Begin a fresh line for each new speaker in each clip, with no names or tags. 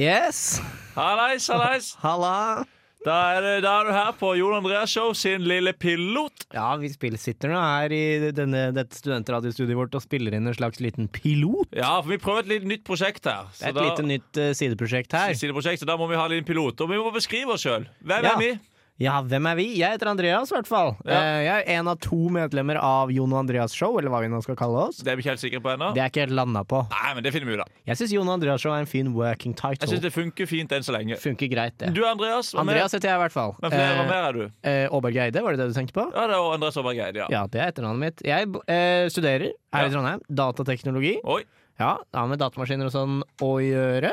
Yes.
Hallais, hallais.
Halla.
Da er, det- da er du her på Jon Andreas Show sin lille pilot.
Ja, vi spill- sitter nå her i denne, dette studentradiostudiet vårt og spiller inn en slags liten pilot.
Ja, for vi prøver et litt nytt prosjekt her.
Det er et
da,
lite nytt eh, sideprosjekt her.
sideprosjekt, så da må vi ha en liten pilot. Og vi må beskrive oss sjøl. Hvem
Ja.
er vi?
Ja, hvem er vi? Jeg heter Andreas, i hvert fall.
Ja.
Eh, Jeg er en av to medlemmer av Jon og Andreas show, eller hva vi nå skal kalle oss.
Det er vi ikke helt sikre på ennå.
Det er ikke helt landa på.
Nei, men det finner vi ut av.
Jeg syns Jon og Andreas show er en fin working
Jeg syns
title.
det funker fint enn så lenge.
Funker greit, det.
Du Andreas, hva mer?
Andreas heter jeg i hvert fall.
Men flere, hva
Eh,
mer er du?
eh, Aaberg Eide, var det det du tenkte på?
Ja, det er Andreas Aabergeid, ja.
Ja, det er etternavnet mitt. Jeg eh, studerer her
Ja.
i Trondheim. Datateknologi.
Oi.
Ja, det har med datamaskiner og sånn å gjøre.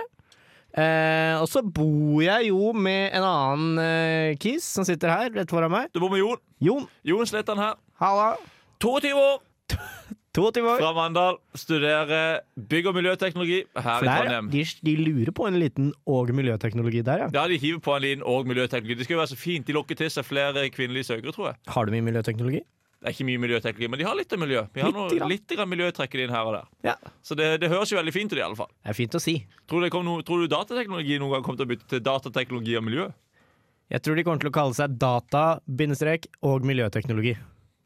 Eh, og så bor jeg jo med en annen eh, kis som sitter her rett foran meg.
Du bor med Jon.
Jon.
Jon Sletan her.
Halla.
22 år,
22 år.
fra Mandal. Studerer bygg- og miljøteknologi her i
Der,
Trondheim.
de, de lurer på en liten og miljøteknologi der, ja.
Ja, de hiver på en liten og miljøteknologi. Det skal jo være så fint. De lokker til seg flere kvinnelige søkere, tror jeg.
Har du mye miljøteknologi?
Det er ikke mye miljøteknologi, men de har litt av miljø. Vi har
Litt
noe,
grann.
litt grann miljø trekker de inn her og der.
Ja.
Så det, det høres jo veldig fint ut, i alle fall.
Det er fint å si.
Tror, det kom noe, tror du datateknologi noen gang kommer til å bytte til datateknologi og miljø?
Jeg tror de kommer til å kalle seg data-og miljøteknologi.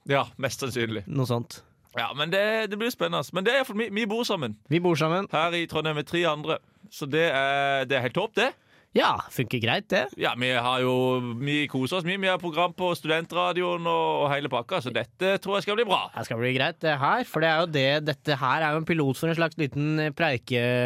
Ja, mest sannsynlig.
Noe sånt.
Ja, Men det, det blir spennende. Men det er for, vi, vi bor sammen
Vi bor sammen.
her i Trondheim med tre andre, så det er, det er helt topp, det.
Ja, funker greit, det.
Ja, vi har jo Vi koser oss mye. Vi har program på studentradioen og, og hele pakka, så dette tror jeg skal bli bra.
Det skal bli greit, det her. For det er jo det, dette her er jo en pilot for en slags liten eh,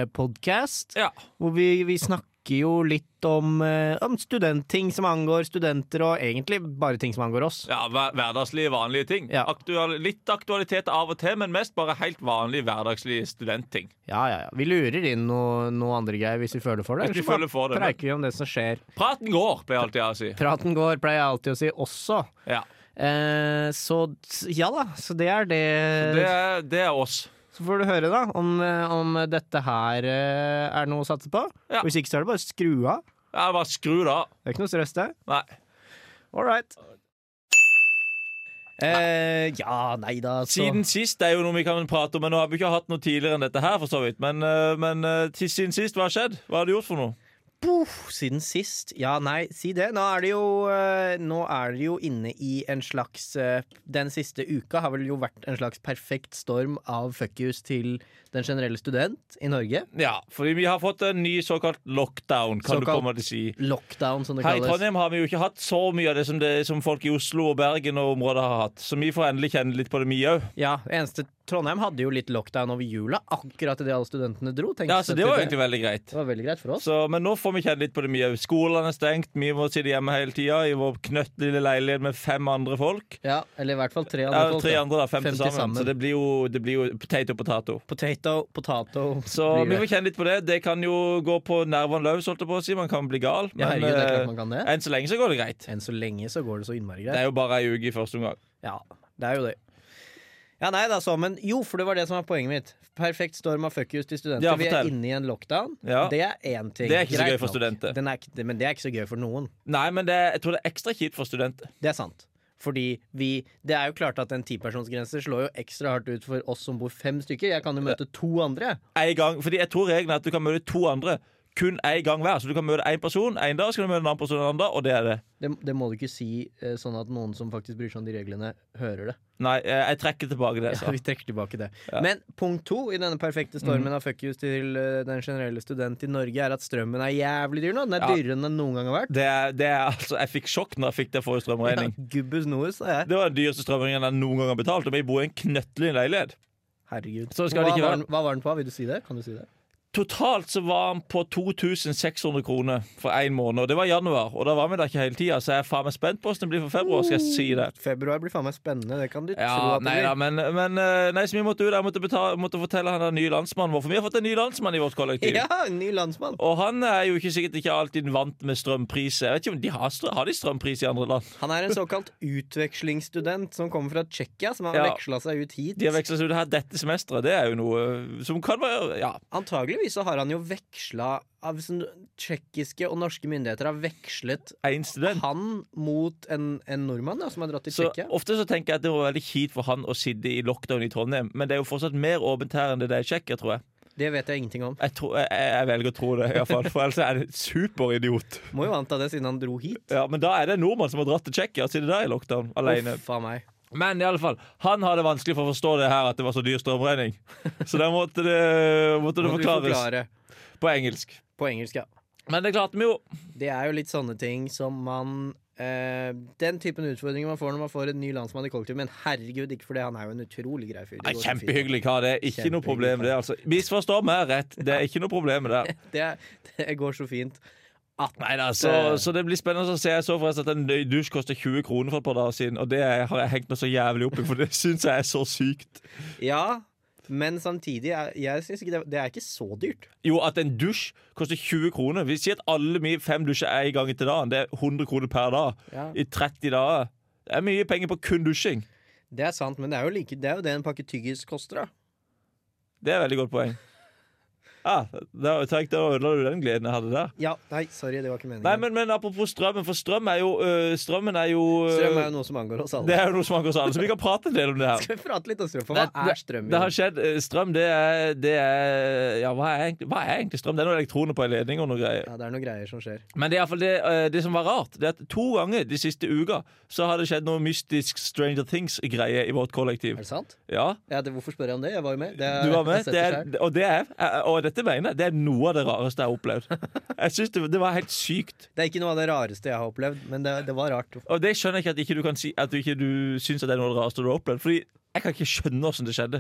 preikepodkast.
Ja.
Hvor vi, vi snakker jo litt om, eh, om studentting som angår studenter, og egentlig bare ting som angår oss.
ja hver, hverdagslige, vanlige ting.
Ja.
Aktual, litt aktualitet av og til, men mest bare helt vanlige, hverdagslige studentting.
Ja, ja, ja. Vi lurer inn noe, noe andre greier hvis vi føler for det.
Hvis vi
eller så bare
føler for det, men-
Preiker vi om det som skjer.
Praten går, pleier alltid jeg å si.
Praten går, pleier jeg alltid å si også.
Ja.
Eh, så t- ja da, så det er det.
Det, er- det er oss.
Så får du høre da om, eh, om dette her eh, er noe å satse på.
Ja.
Hvis ikke så er det bare å skru av.
Ja, bare skru det av.
Det er ikke noe stress, det.
Nei.
All right. Eh, ja, nei da, så
Siden sist er jo noe vi kan prate om, men nå har vi ikke hatt noe tidligere enn dette her, for så vidt. Men, eh, men eh, til siden sist, hva har skjedd? Hva har du gjort for noe?
Puff, Siden sist. Ja, nei, si det. Nå er det jo, eh, nå er det jo inne i en slags eh, Den siste uka har vel jo vært en slags perfekt storm av fuckings til den generelle student i Norge.
Ja, fordi vi har fått en ny såkalt lockdown, kan du
Såkalt-
komme til å si.
Lockdown, som det
Her i
kalles.
Trondheim har vi jo ikke hatt så mye av det som, det som folk i Oslo og Bergen og området har hatt. Så vi får endelig kjenne litt på det, vi òg.
Ja, det eneste Trondheim hadde jo litt lockdown over jula, akkurat idet alle studentene dro. tenkte
Ja, så
jeg
det
til
var egentlig veldig greit.
det var veldig greit for oss.
Så, men nå får vi kjenne litt på det, vi òg. Skolene er stengt, vi må sitte hjemme hele tida i vår knøttlille leilighet med fem andre folk.
Ja, Eller i hvert fall tre andre.
Ja,
folk,
tre
da.
andre, da. Fem, til sammen.
sammen.
Så det blir jo, det blir jo potato potato.
Potato, potato.
Så
blir
vi
det.
får kjenne litt på det. Det kan jo gå på nervene løs, holdt jeg på å si. Man kan bli gal.
Ja, herregud, det er klart man
Men
kan
eh,
det.
enn så lenge så går det greit.
Enn så lenge så går det så innmari
Det
greit.
er jo bare ei uke i første omgang.
Ja, det er jo det. Ja, nei da, så, men jo, for det var det som var poenget mitt. Perfekt storm av fuckings til studenter.
Ja,
Vi er
fortell.
inne i en lockdown.
Ja.
Det er én ting.
Det er ikke så
Greit
gøy for
nok.
studenter.
Den er, ikke- det- men det er ikke så gøy for noen.
Nei, men det, jeg tror det er ekstra kjipt for studenter.
Det er sant. Fordi vi Det er jo klart at en tipersonsgrense slår jo ekstra hardt ut for oss som bor fem stykker. Jeg kan jo møte to andre.
en gang Fordi jeg tror regelen er at du kan møte to andre kun én gang hver. Så du kan møte én person én dag, så kan du møte en annen person en annen dag, og det er det.
Det, det må du ikke si eh, sånn at noen som faktisk bryr seg om de reglene, hører det.
Nei, eh, jeg trekker tilbake det. jeg
Ja,
sa.
vi trekker tilbake det. Men punkt to i denne perfekte
Mhm.
stormen av fuck yous til eh, den generelle student i Norge, er at strømmen er jævlig dyr nå. Den er
Ja.
dyrere enn den noen gang har vært.
Det er, det er altså Jeg fikk sjokk når jeg fikk det forrige
Ja,
strømregning.
Gubbus noes, sa jeg.
Det var den dyreste strømregningen jeg noen gang har betalt, og vi bor i en knøttlig leilighet.
Herregud.
Så skal
hva,
det ikke
var
være.
den, hva var den på? Vil du si det? Kan du si det?
Totalt så var han på 2600 kroner for én måned, og det var i januar. Og da var vi der ikke hele tida, så jeg er faen meg spent på hvordan det blir for februar. Skal jeg si det?
Februar blir faen meg spennende, det kan du tro.
Ja,
At det
nei
blir.
da, men, men eh, Nei, så vi måtte ut der. Jeg måtte, betale, måtte fortelle han der nye landsmannen vår, for vi har fått en ny landsmann i vårt kollektiv.
ja, en ny landsmann.
Og han er jo ikke sikkert ikke alltid vant med strømpris. Jeg vet ikke om de har, strø har de strømpris i andre land.
Han er en såkalt utvekslingsstudent som kommer fra Tsjekkia, som har
Ja.
veksla seg ut hit.
De har veksla seg ut her dette semesteret. Det er jo noe øh, som kan være Ja.
Antageligvis så har han jo veksla av sånn, Tsjekkiske og norske myndigheter har vekslet
Én student.
han mot en, en nordmann da, som har dratt til
Så
Tsjekkia.
ofte så tenker jeg at det var veldig kjipt for han å sitte i lockdown i Trondheim, men det er jo fortsatt mer åpent her enn det det er i Tsjekkia, tror jeg.
Det vet jeg ingenting om.
Jeg, tror, jeg, jeg velger å tro det, i hvert fall, for ellers er jeg en superidiot.
Må jo anta det siden han dro hit.
Ja, Men da er det en nordmann som har dratt til Tsjekkia og sittet der i lockdown alene.
Uff a meg.
Men i alle fall, han hadde vanskelig for å forstå det her at det var så dyr strømregning. Så der måtte det, måtte det
Må du
forklares
forklare
på engelsk.
på engelsk, ja.
Men det klarte vi jo.
Det er jo litt sånne ting som man eh, Den typen utfordringer man får når man får en ny landsmann i kollektiv, men herregud, ikke for det. Han er jo en utrolig grei fyr. Det
Nei,
går så fint.
kjempehyggelig hva det er. Ikke noe
Kjempehyggelig
problem det, altså. Misforstå meg rett, det er ikke noe problem med det.
Det, er- det går så fint.
Neida, så, så det blir spennende å se. Jeg så forresten at en dusj koster 20 kroner for et par dager siden, og det har jeg hengt meg så jævlig opp i, for det syns jeg er så sykt.
Ja, men samtidig er, jeg synes ikke det, det er ikke så dyrt.
Jo, at en dusj koster 20 kroner. Vi sier at alle mine fem dusjer er i gang til dagen. Det er 100 kroner per dag
Ja.
i 30 dager. Det er mye penger på kun dusjing.
Det er sant, men det er jo, like, det, er jo det en pakke tyggis koster, da.
Det er et veldig godt poeng. Ja, da, tenk, da ødela du den gleden jeg hadde der.
Ja, nei, sorry, det var ikke
Nei,
meningen.
men, men apropos strømmen, for strøm er jo øh, Strømmen er jo øh,
Strøm er jo noe som angår oss
Det
alle.
er jo noe som angår oss alle, så vi kan prate en del om det her.
Skal vi prate litt om strøm? For
Det-
hva er strøm?
Det har skjedd. øh, Strøm, det er, det er Ja, hva er, egentlig, hva er egentlig strøm? Det er noen elektroner på en ledning og noe greier.
Ja, det er noen greier som skjer.
Men det, er i hvert fall det, eh, det som var rart, det er at to ganger de siste uka så har det skjedd noe mystisk Stranger Things-greie i vårt kollektiv.
Er det sant?
Ja,
Ja, det, hvorfor spør jeg om det? Jeg var jo med. Det,
du
jeg
var med.
setter
Det er,
seg.
og, det er, eh, og dette mener jeg, det er noe av det rareste jeg har opplevd. Jeg synes det, det var helt sykt.
det er ikke noe av det rareste jeg har opplevd, men det, det var rart.
Og det skjønner jeg ikke at, ikke du, kan si, at du ikke du syns at det er noe av det rareste du har opplevd. Fordi jeg kan ikke skjønne åssen det skjedde.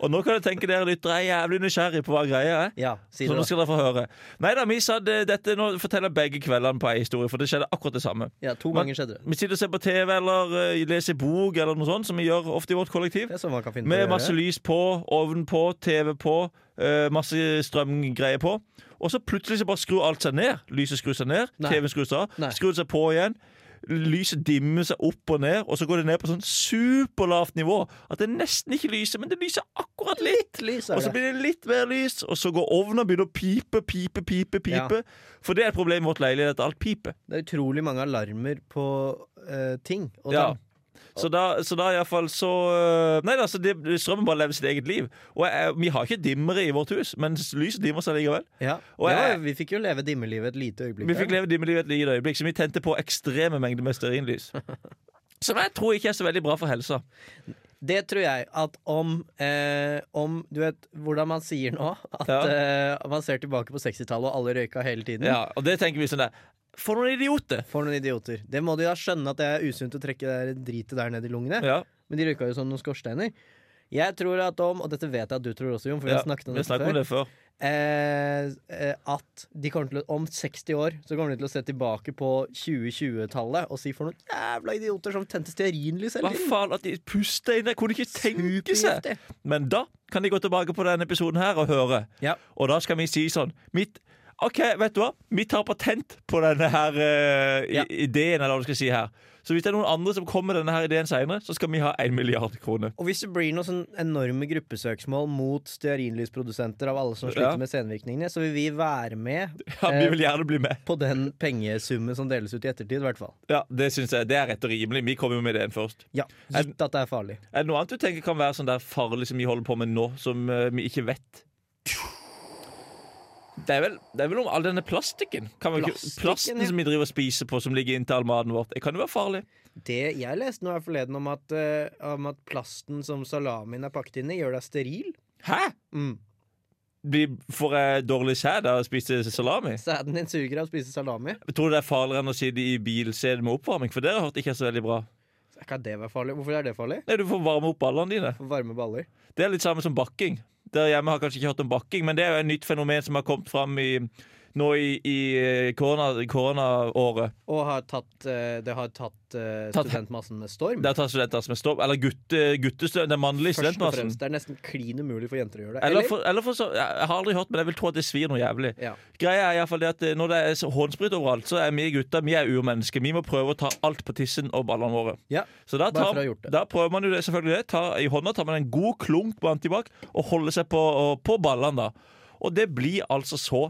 Og nå kan du tenke dere lyttere, jeg er jævlig nysgjerrig på hva greia er.
Ja, si
Så
det, da.
nå skal dere få høre. Nei da, vi satt eh, dette Nå forteller jeg begge kveldene på ei historie, for det skjedde akkurat det samme.
Ja, to
Men-
ganger skjedde det.
Vi sitter og ser på TV eller eh, leser bok, eller noe sånt, som vi gjør ofte i vårt kollektiv.
Det er sånn man kan finne på
Med
å
masse
gjøre.
lys på, ovn på, TV på, eh, masse strømgreier på. Og så plutselig så bare skrur alt seg ned. Lyset skrur seg ned,
Nei.
TV-en skrur seg av,
Nei.
skrur det seg på igjen. Lyset dimmer seg opp og ned, og så går det ned på sånn superlavt nivå at det nesten ikke lyser, men det lyser akkurat litt.
Lys
Og
er
så
det.
blir det litt mer lys, og så går ovnen og begynner å pipe, pipe, pipe. pipe For det er et problem i vårt leilighet at alt piper.
Det er utrolig mange alarmer på eh, ting. Og
Ja.
ja.
Så da, så da iallfall så øh, Nei da, så det, strømmen bare lever sitt eget liv. Og jeg, vi har ikke dimmere i vårt hus, men lyset dimmer seg likevel.
Ja.
Og
Det var,
jeg-
vi fikk jo leve dimmelivet et lite øyeblikk.
Vi fikk leve dimmerlivet et lite øyeblikk, så vi tente på ekstreme mengder med stearinlys. Som jeg tror ikke er så veldig bra for helsa.
Mm. Det tror jeg at om, eh, om Du vet hvordan man sier nå? At
Ja.
eh, man ser tilbake på 60-tallet, og alle røyka hele tiden.
Ja, Og det tenker vi sånn der For noen idioter!
For noen idioter. Det må de da skjønne at det er usunt å trekke det der dritet der ned i lungene.
Ja,
Men de røyka jo som noen skorsteiner. Jeg tror at om, og dette vet jeg at du tror også, Jon, for vi
ja,
har snakket om
vi
dette
snakket
før,
om det før.
eh, eh, at de kommer til å, om 60 år så kommer de til å se tilbake på 2020-tallet og si for noen jævla idioter som tente stearinlys
Hva
hele tiden.
faen, at de pusta inn der? Kunne de ikke tenke seg!
Supergiftig.
Men da kan de gå tilbake på denne episoden her og høre.
Ja.
Og da skal vi si sånn mitt, OK, vet du hva? Vi tar patent på denne her eh, i-
Ja.
ideen. Eller hva du skal si her Så hvis det er noen andre som kommer med denne her ideen seinere, så skal vi ha én milliard kroner.
Og hvis det blir noen sånn enorme gruppesøksmål mot stearinlysprodusenter av alle som sliter
Ja.
med senvirkningene, så vil vi være med
Ja, Vi
Eh.
vil gjerne bli med.
på den pengesummen som deles ut i ettertid, i hvert fall.
Ja, Det synes jeg, det er rett og rimelig. Vi kommer jo med ideen først.
Ja, gitt at det er farlig.
Er det noe annet du tenker kan være sånn der farlig som vi holder på med nå, som eh, vi ikke vet? Det er, vel, det er vel om all denne plastikken. Kan vi ikke,
Plastikken,
plasten
ja.
som vi driver og spiser på, som ligger inntil all maten vår. Det kan jo være farlig.
Det jeg leste nå her forleden om at, eh, om at plasten som salamien er pakket inn i, gjør deg steril.
Hæ?
Mm.
Blir, får jeg dårlig sæd av å spise salami?
Sæden din suger av å spise salami.
Tror du det er farligere enn å sitte i bilsete med oppvarming? For det har jeg hørt ikke er så veldig bra.
Så Kan det være farlig? Hvorfor er det farlig?
Nei, Du får varme opp ballene dine.
For varme baller.
Det er litt samme som bakking. Der hjemme har jeg kanskje ikke hørt om bakking, men det er jo et nytt fenomen som har kommet fram i, nå i, i eh, korona- koronaåret.
Og har tatt, eh, det har tatt eh,
Tatt-
studentmassen med storm.
Der tar studenter som er stopp. Eller gutte, guttestø- den mannlige
Først og
studentmassen.
fremst. Det er nesten klin umulig for jenter å gjøre det.
Eller for, eller for så, jeg jeg har aldri hørt, men jeg vil tro at det svir noe jævlig.
Ja.
Greia er i hvert fall det at eh, Når det er så- håndsprit overalt, så er vi gutter vi er urmennesker. Vi må prøve å ta alt på tissen og ballene våre.
Ja,
så da,
bare
tar,
for å ha gjort det.
da prøver man jo det, selvfølgelig det. Tar, I hånda tar man en god klunk med antibac og holder seg på, og, på ballene. da Og det blir altså så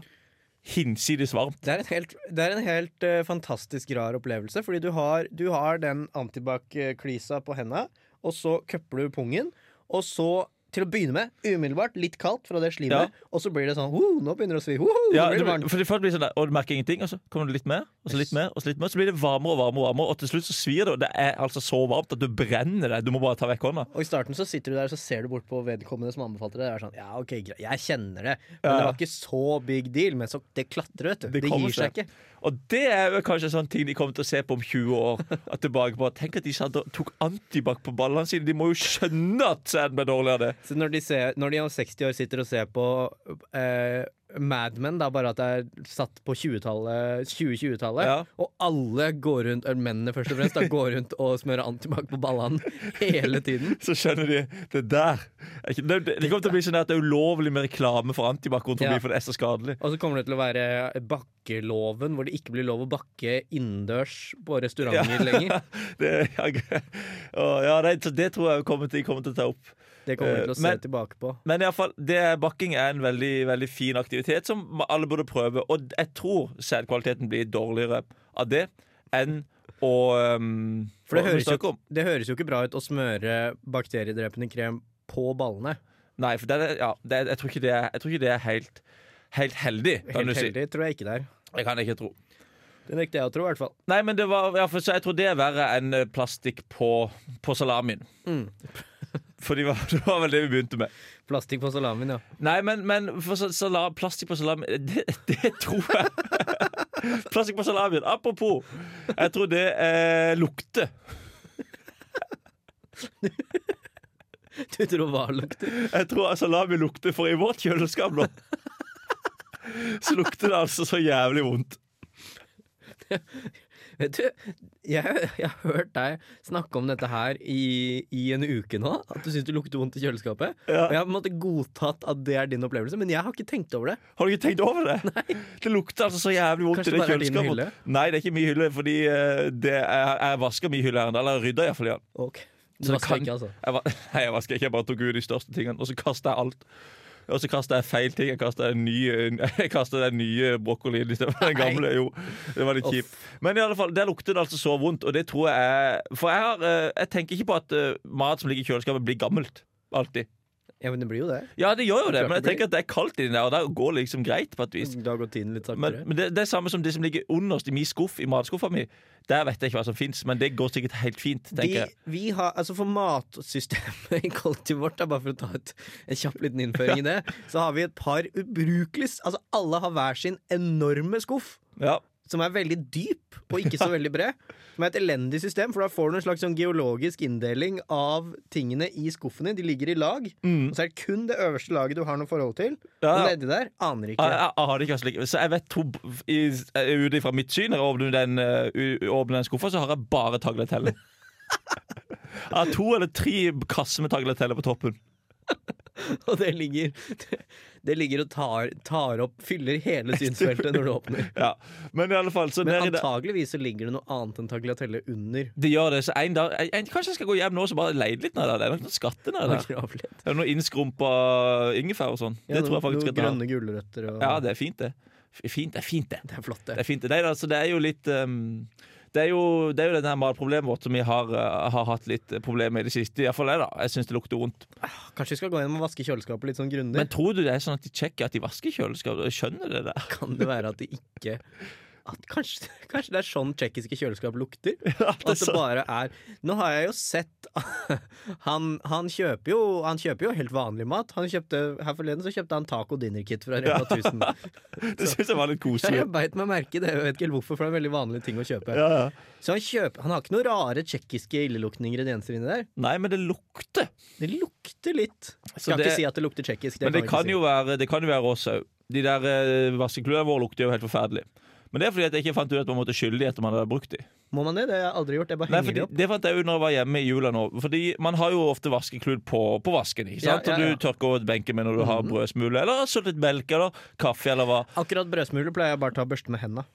hinsides varmt.
Det er en helt, det er en helt eh, fantastisk rar opplevelse, fordi du har, du har den antibac-klisa på henda, og så køpler du pungen, og så til å begynne med, umiddelbart litt kaldt fra det
Ja.
slimet, og så blir det sånn «Ho, Nå begynner det å svi. Ho, ho,
Ja,
nå blir
det,
det varmt.
for det først blir sånn der, og du merker ingenting, og så kommer det litt mer, og så litt mer, og så litt mer. Så blir det varmere og varmere, og varmere, og til slutt så svir det, og det er altså så varmt at du brenner deg. Du må bare ta vekk hånda.
Og i starten så sitter du der og så ser du bort på vedkommende som anbefalte det. Og er sånn, ja, ok, greit, Jeg kjenner det, men det
Ja.
var ikke så big deal. Men så det klatrer, vet du. Det,
kommer
gir seg ikke.
Og det er jo kanskje en sånn ting de kommer til å se på om 20 år. At tilbake på, Tenk at de satt og tok antibac på ballene sine! De må jo skjønne at sæden ble dårligere! av det.
Så når de, ser, når de om 60 år sitter og ser på eh, Mad Men, da bare at det er satt på 20-tallet, 2020-tallet,
Ja.
og alle går rundt, eller mennene først og fremst, da går rundt og smører antibac på ballene hele tiden.
Så skjønner de det der. er ikke- Det, det kommer til å bli sånn at det er ulovlig med reklame for antibac rundt forbi,
Ja.
for det er så skadelig.
Og så kommer det til å være bakkeloven, hvor det ikke blir lov å bakke innendørs på restauranter lenger.
Det, ja, g- Å, ja, det, så det tror jeg kommer til, kommer til å ta opp.
Det kommer vi til å
Eh,
se
men-
tilbake på.
Men i alle fall, det, bakking er en veldig, veldig fin aktivitet som alle burde prøve. Og jeg tror sædkvaliteten blir dårligere av det enn å um,
For det
å-
høres, jo,
snakke om-
ikke- det høres jo ikke bra ut å smøre bakteriedrepende krem på ballene.
Nei, for det er, ja, det er, jeg, tror ikke det er, jeg tror ikke det er helt, helt heldig. Kan
Helt
du si.
heldig tror jeg ikke det er.
Det kan jeg ikke tro.
Det nekter jeg å tro, i hvert fall.
Nei, men det var, ja, for, så jeg tror det er verre enn eh, plastikk på, på salamien.
Mm.
For det var, det var vel det vi begynte med.
Plastikk på salamien, ja.
Nei, men, men for sa- sala- plastikk på salamien det, det tror jeg Plastikk på salamien. Apropos, jeg tror det eh, lukter.
Du tror hva lukter?
Jeg tror salami lukter, for i vårt kjøleskap nå så lukter det altså så jævlig vondt.
Vet du, jeg, jeg har hørt deg snakke om dette her i, i en uke nå. At du syns du lukter vondt i kjøleskapet.
Ja.
Og jeg har på en måte godtatt at det er din opplevelse, men jeg har ikke tenkt over det.
Har du ikke tenkt over det? Det lukter altså så jævlig vondt
Kanskje det
i det
bare er din
kjøleskapet.
hylle?
Nei, det er ikke min hylle, fordi eh, det er, jeg vasker min hylle her. Eller rydda iallfall i den.
Ok, Du
Så det
vasker
kan-
ikke, altså.
Jeg va- Nei, jeg vasker ikke, jeg bare tok ut de største tingene, og så kasta jeg alt. Og så kasta jeg feil ting. Jeg kasta den nye, jeg kastet den nye brokkolien istedenfor den
Nei.
gamle. Jo, det var litt
Uff.
kjipt. Men i alle fall, der lukter det altså så vondt, og det tror jeg er For jeg, har, eh, jeg tenker ikke på at eh, mat som ligger i kjøleskapet, blir gammelt. Alltid.
Ja, men det blir jo det.
Ja, det gjør jo det,
Klart
men
det
jeg
blir.
tenker at det er kaldt inni der, og der går det liksom greit på et vis.
Da går tiden litt
Men,
saktere.
men det, det er samme som det som ligger underst i min skuff, i matskuffa mi. Der vet jeg ikke hva som fins, men det går sikkert helt fint. tenker
Vi,
jeg
vi har, altså For matsystemet i kollektivet vårt, da, bare for å ta et, en kjapp liten innføring i det, så har vi et par ubrukelige s- Altså alle har hver sin enorme skuff.
ja.
Som er veldig dyp og ikke så veldig bred. Som er et elendig system, for da får du en slags sånn geologisk inndeling av tingene i skuffene. De ligger i lag, og så er det kun det øverste laget du har noe forhold til.
Ja,
Og
ja.
nedi der aner
Jeg,
ikke.
jeg, jeg har det ikke altså like- Så jeg vet to i- eh, Ut ifra mitt syn, når jeg åpner den, eh, u- åpner den skuffa, så har jeg bare tagletelle. Jeg har to eller tre kasser med tagletelle på toppen.
Og det ligger, det ligger og tar, tar opp, fyller hele synsfeltet når du åpner.
Ja. Men i alle fall så
Men
nedi der-
antageligvis så ligger det noe annet enn tagliatelle under.
det gjør det, så en dag en, en, Kanskje jeg skal gå hjem nå og så bare leie litt nedi der. Det er nok noen skatter nedi der.
Gravlett.
Det er noe innskrumpa ingefær og sånn.
Ja,
det tror
noen-
jeg
noen
faktisk at jeg har.
Grønne gulrøtter og
Ja, det er fint, det. F- Fint, det er fint, det.
Det er flott,
Det
det.
er, fint. det. Nei, altså, det er jo litt ehm, det, er jo, det er jo denne matproblemet vårt som vi har, eh, har hatt litt problemer med i det siste. Iallfall jeg, da. Jeg syns det lukter vondt.
Kanskje vi skal gå gjennom og vaske kjøleskapet litt sånn grundig?
Men tror du det er sånn at de sjekker at de vasker kjøleskapet? og Skjønner det der?
kan det være at det ikke at kanskje, kanskje det er sånn tsjekkiske kjøleskap lukter?
At det
At
er
det
sånn.
bare er Nå har jeg jo sett han, han, kjøper jo, han kjøper jo helt vanlig mat. Han kjøpte, her forleden så kjøpte han taco dinner kit fra Rema 1000.
Det syns jeg var litt
Ja,
koselig.
jeg beit meg merke i det, jeg vet ikke helt hvorfor, for det er en veldig vanlig ting å kjøpe.
Ja, ja.
Så han, kjøper, han har ikke noen rare tsjekkiske illeluktende ingredienser inni der.
Nei, men det lukter.
Det lukter litt.
Så
Skal
det-
ikke si at det lukter tsjekkisk.
Men det
vi
kan
ikke si.
jo være, det kan jo være oss òg. De der eh, vaskekludene våre lukter jo helt forferdelig. Men det er fordi at jeg ikke fant ut at man måtte skylle de etter man hadde brukt de.
Må man det? Det har jeg aldri gjort. Jeg bare
Nei,
henger
fordi,
det opp.
det fant jeg ut når jeg var hjemme i jula nå. Fordi man har jo ofte vaskeklud på, på vasken. ikke
Ja,
sant?
ja, ja. Mhm.
Og du tørker over et benke med når du har brødsmule, eller har sølt litt melk, eller kaffe, eller hva.
Akkurat brødsmuler pleier jeg bare å ta og børste med henda.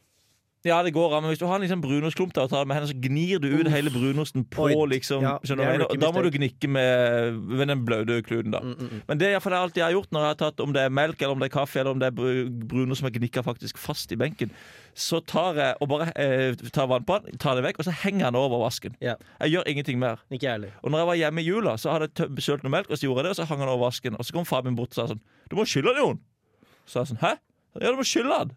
Ja, det går an, men hvis du har en liksom brunostklump der og tar det med hendene, så gnir du ut
Uff.
hele brunosten på
Oi.
liksom
Ja,
skjønner du
det er
hva jeg mener?
rookie
Da må du
mistake.
gnikke med, med den blaude kluten, da.
Mm, mm, mm.
Men det er i hvert fall alt jeg har gjort når jeg har tatt om det er melk eller om det er kaffe eller om det er bru- brunost som er gnikka faktisk fast i benken. Så tar jeg og bare eh, tar vannpannen, tar det vekk, og så henger den over vasken.
Ja.
Jeg gjør ingenting mer.
Ikke jeg heller.
Og når jeg var hjemme i jula, så hadde jeg tøm- sølt noe melk, og så gjorde jeg det, og så hang han over vasken. Og så kom far min bort og sa sånn Du må skylle den, Jon! Så jeg sånn Hæ? Ja, du må skylle den.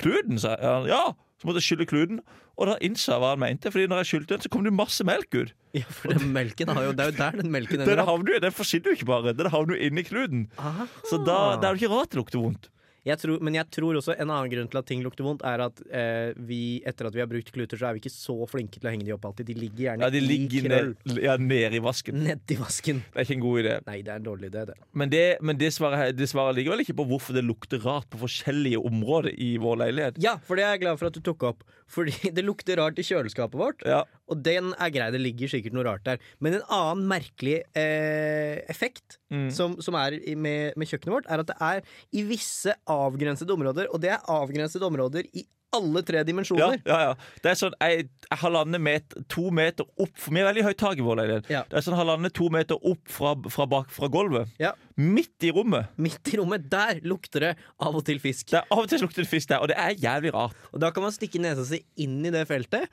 Kluden, sa jeg. Ja, han, Ja! Så måtte jeg skylle kluden. Og da innså jeg hva han mente, Fordi når jeg skylte den, så kom det masse melk ut.
Ja, for den melken har jo, det er jo der den melken
Den,
ender opp.
havner jo, den forsvinner jo ikke bare, den havner jo inni kluden.
Aha.
Så da det er jo ikke rart det lukter vondt.
jeg tror, Men jeg tror også en annen grunn til at ting lukter vondt, er at eh, vi etter at vi har brukt kluter, så er vi ikke så flinke til å henge de opp alltid. De ligger gjerne
Ja, De
i
ligger
krøll
ned, ja, ned i vasken.
nedi vasken.
Det er ikke en god idé.
Nei, det er en dårlig idé, det.
Men det, men det, svaret, her- det svarer likevel ikke på hvorfor det lukter rart på forskjellige områder i vår leilighet.
Ja, for det er jeg glad for at du tok opp. Fordi det lukter rart i kjøleskapet vårt.
Ja,
Og den er grei, det ligger sikkert noe rart der. Men en annen merkelig eh, effekt
Mm.
som, som er i- med, med kjøkkenet vårt, er at det er i visse avgrensede områder, og det er avgrensede områder i alle tre
ja,
dimensjoner.
ja, ja. Det er sånn ei, ei halvannen meter, to meter opp For vi er veldig høyt tak i vår leilighet.
Ja.
Det er sånn halvannen, to meter opp fra, fra, bak, fra gulvet.
Ja.
Midt i rommet.
Midt i rommet, der lukter det av og til fisk.
Det er Av og til lukter det fisk der, og det er jævlig rart.
Og da kan man stikke nesa si inn i det feltet,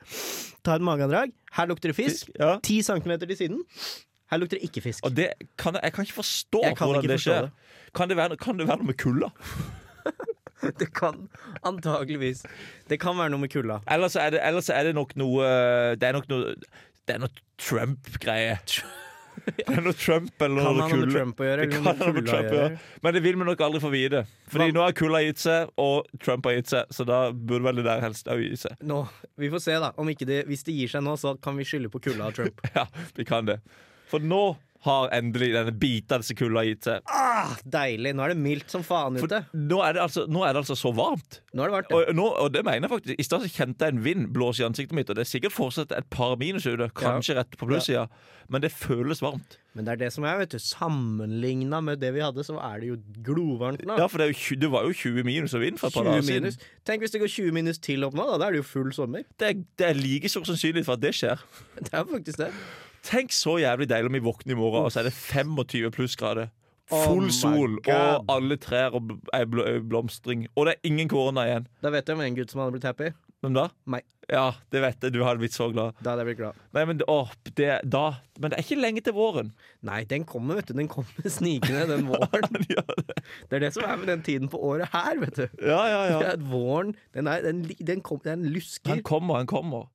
ta et mageandrag. Her lukter det fisk.
Ja.
Ti centimeter til siden. Her lukter det ikke fisk.
Og det kan jeg, jeg kan ikke forstå
Jeg kan
hvordan
ikke
det
forstå
skjer. Kan, det være, kan det være noe med kulda?
Det kan antageligvis Det kan være noe med kulda.
Ellers er det, ellers er det nok noe eh, Det er nok noe Det er noe Trump-greie. Det er noe Trump eller
Kan han
noe
ha noe
kulde.
med Trump å gjøre?
Det
Eller
kan
noe
ha noe
med kulda
med
å
Trump å
gjøre?
gjøre. Men det vil vi nok aldri få vite. Fordi
Hva-
nå har kulda gitt seg, og Trump har gitt seg, så da burde vel det der helst òg gi seg.
Nå, Vi får se, da. Om ikke det, hvis det gir seg nå, så kan vi skylde på kulda av Trump.
Ja, vi kan det. For nå har endelig denne bitende kulda gitt seg.
Ah, deilig! Nå er det mildt som faen
For
ute.
nå er det altså, nå er det altså så varmt.
Nå har det vært det.
Og, nå, og det mener jeg faktisk I stad så kjente jeg en vind blåse i ansiktet mitt, og det er sikkert fortsatt et par minus ute, kanskje rett på plussida, men det føles varmt.
Men det er det som er, vet du. Sammenligna med det vi hadde, så er det jo glovarmt nå.
Ja, for det, er jo, tju- det var jo 20 minus og vind for et
20
par dager siden.
minus. Tenk hvis det går 20 minus til opp nå, da. Da er det jo full sommer.
Det er, det er like stor sannsynlighet for at det skjer.
Det er faktisk det.
Tenk så jævlig deilig om vi våkner i morgen, og så er det 25 plussgrader.
Oh
Full
my
sol
God.
og alle trær og bl- ei bl blomstring. Og det er ingen korona igjen.
Da vet jeg om en gutt som hadde blitt happy.
Hvem da?
Meg.
Ja, det vet jeg. Du hadde blitt så glad.
Da hadde jeg blitt glad.
Nei, men, det- åh, det, da, men det er ikke lenge til våren.
Nei, den kommer, vet du. Den kommer snikende den våren.
ja,
Det er det som er med den tiden på året her, vet du.
ja, ja.
Det er at våren den, er, den, li- den, kom, den lusker.
Han kommer, han kommer.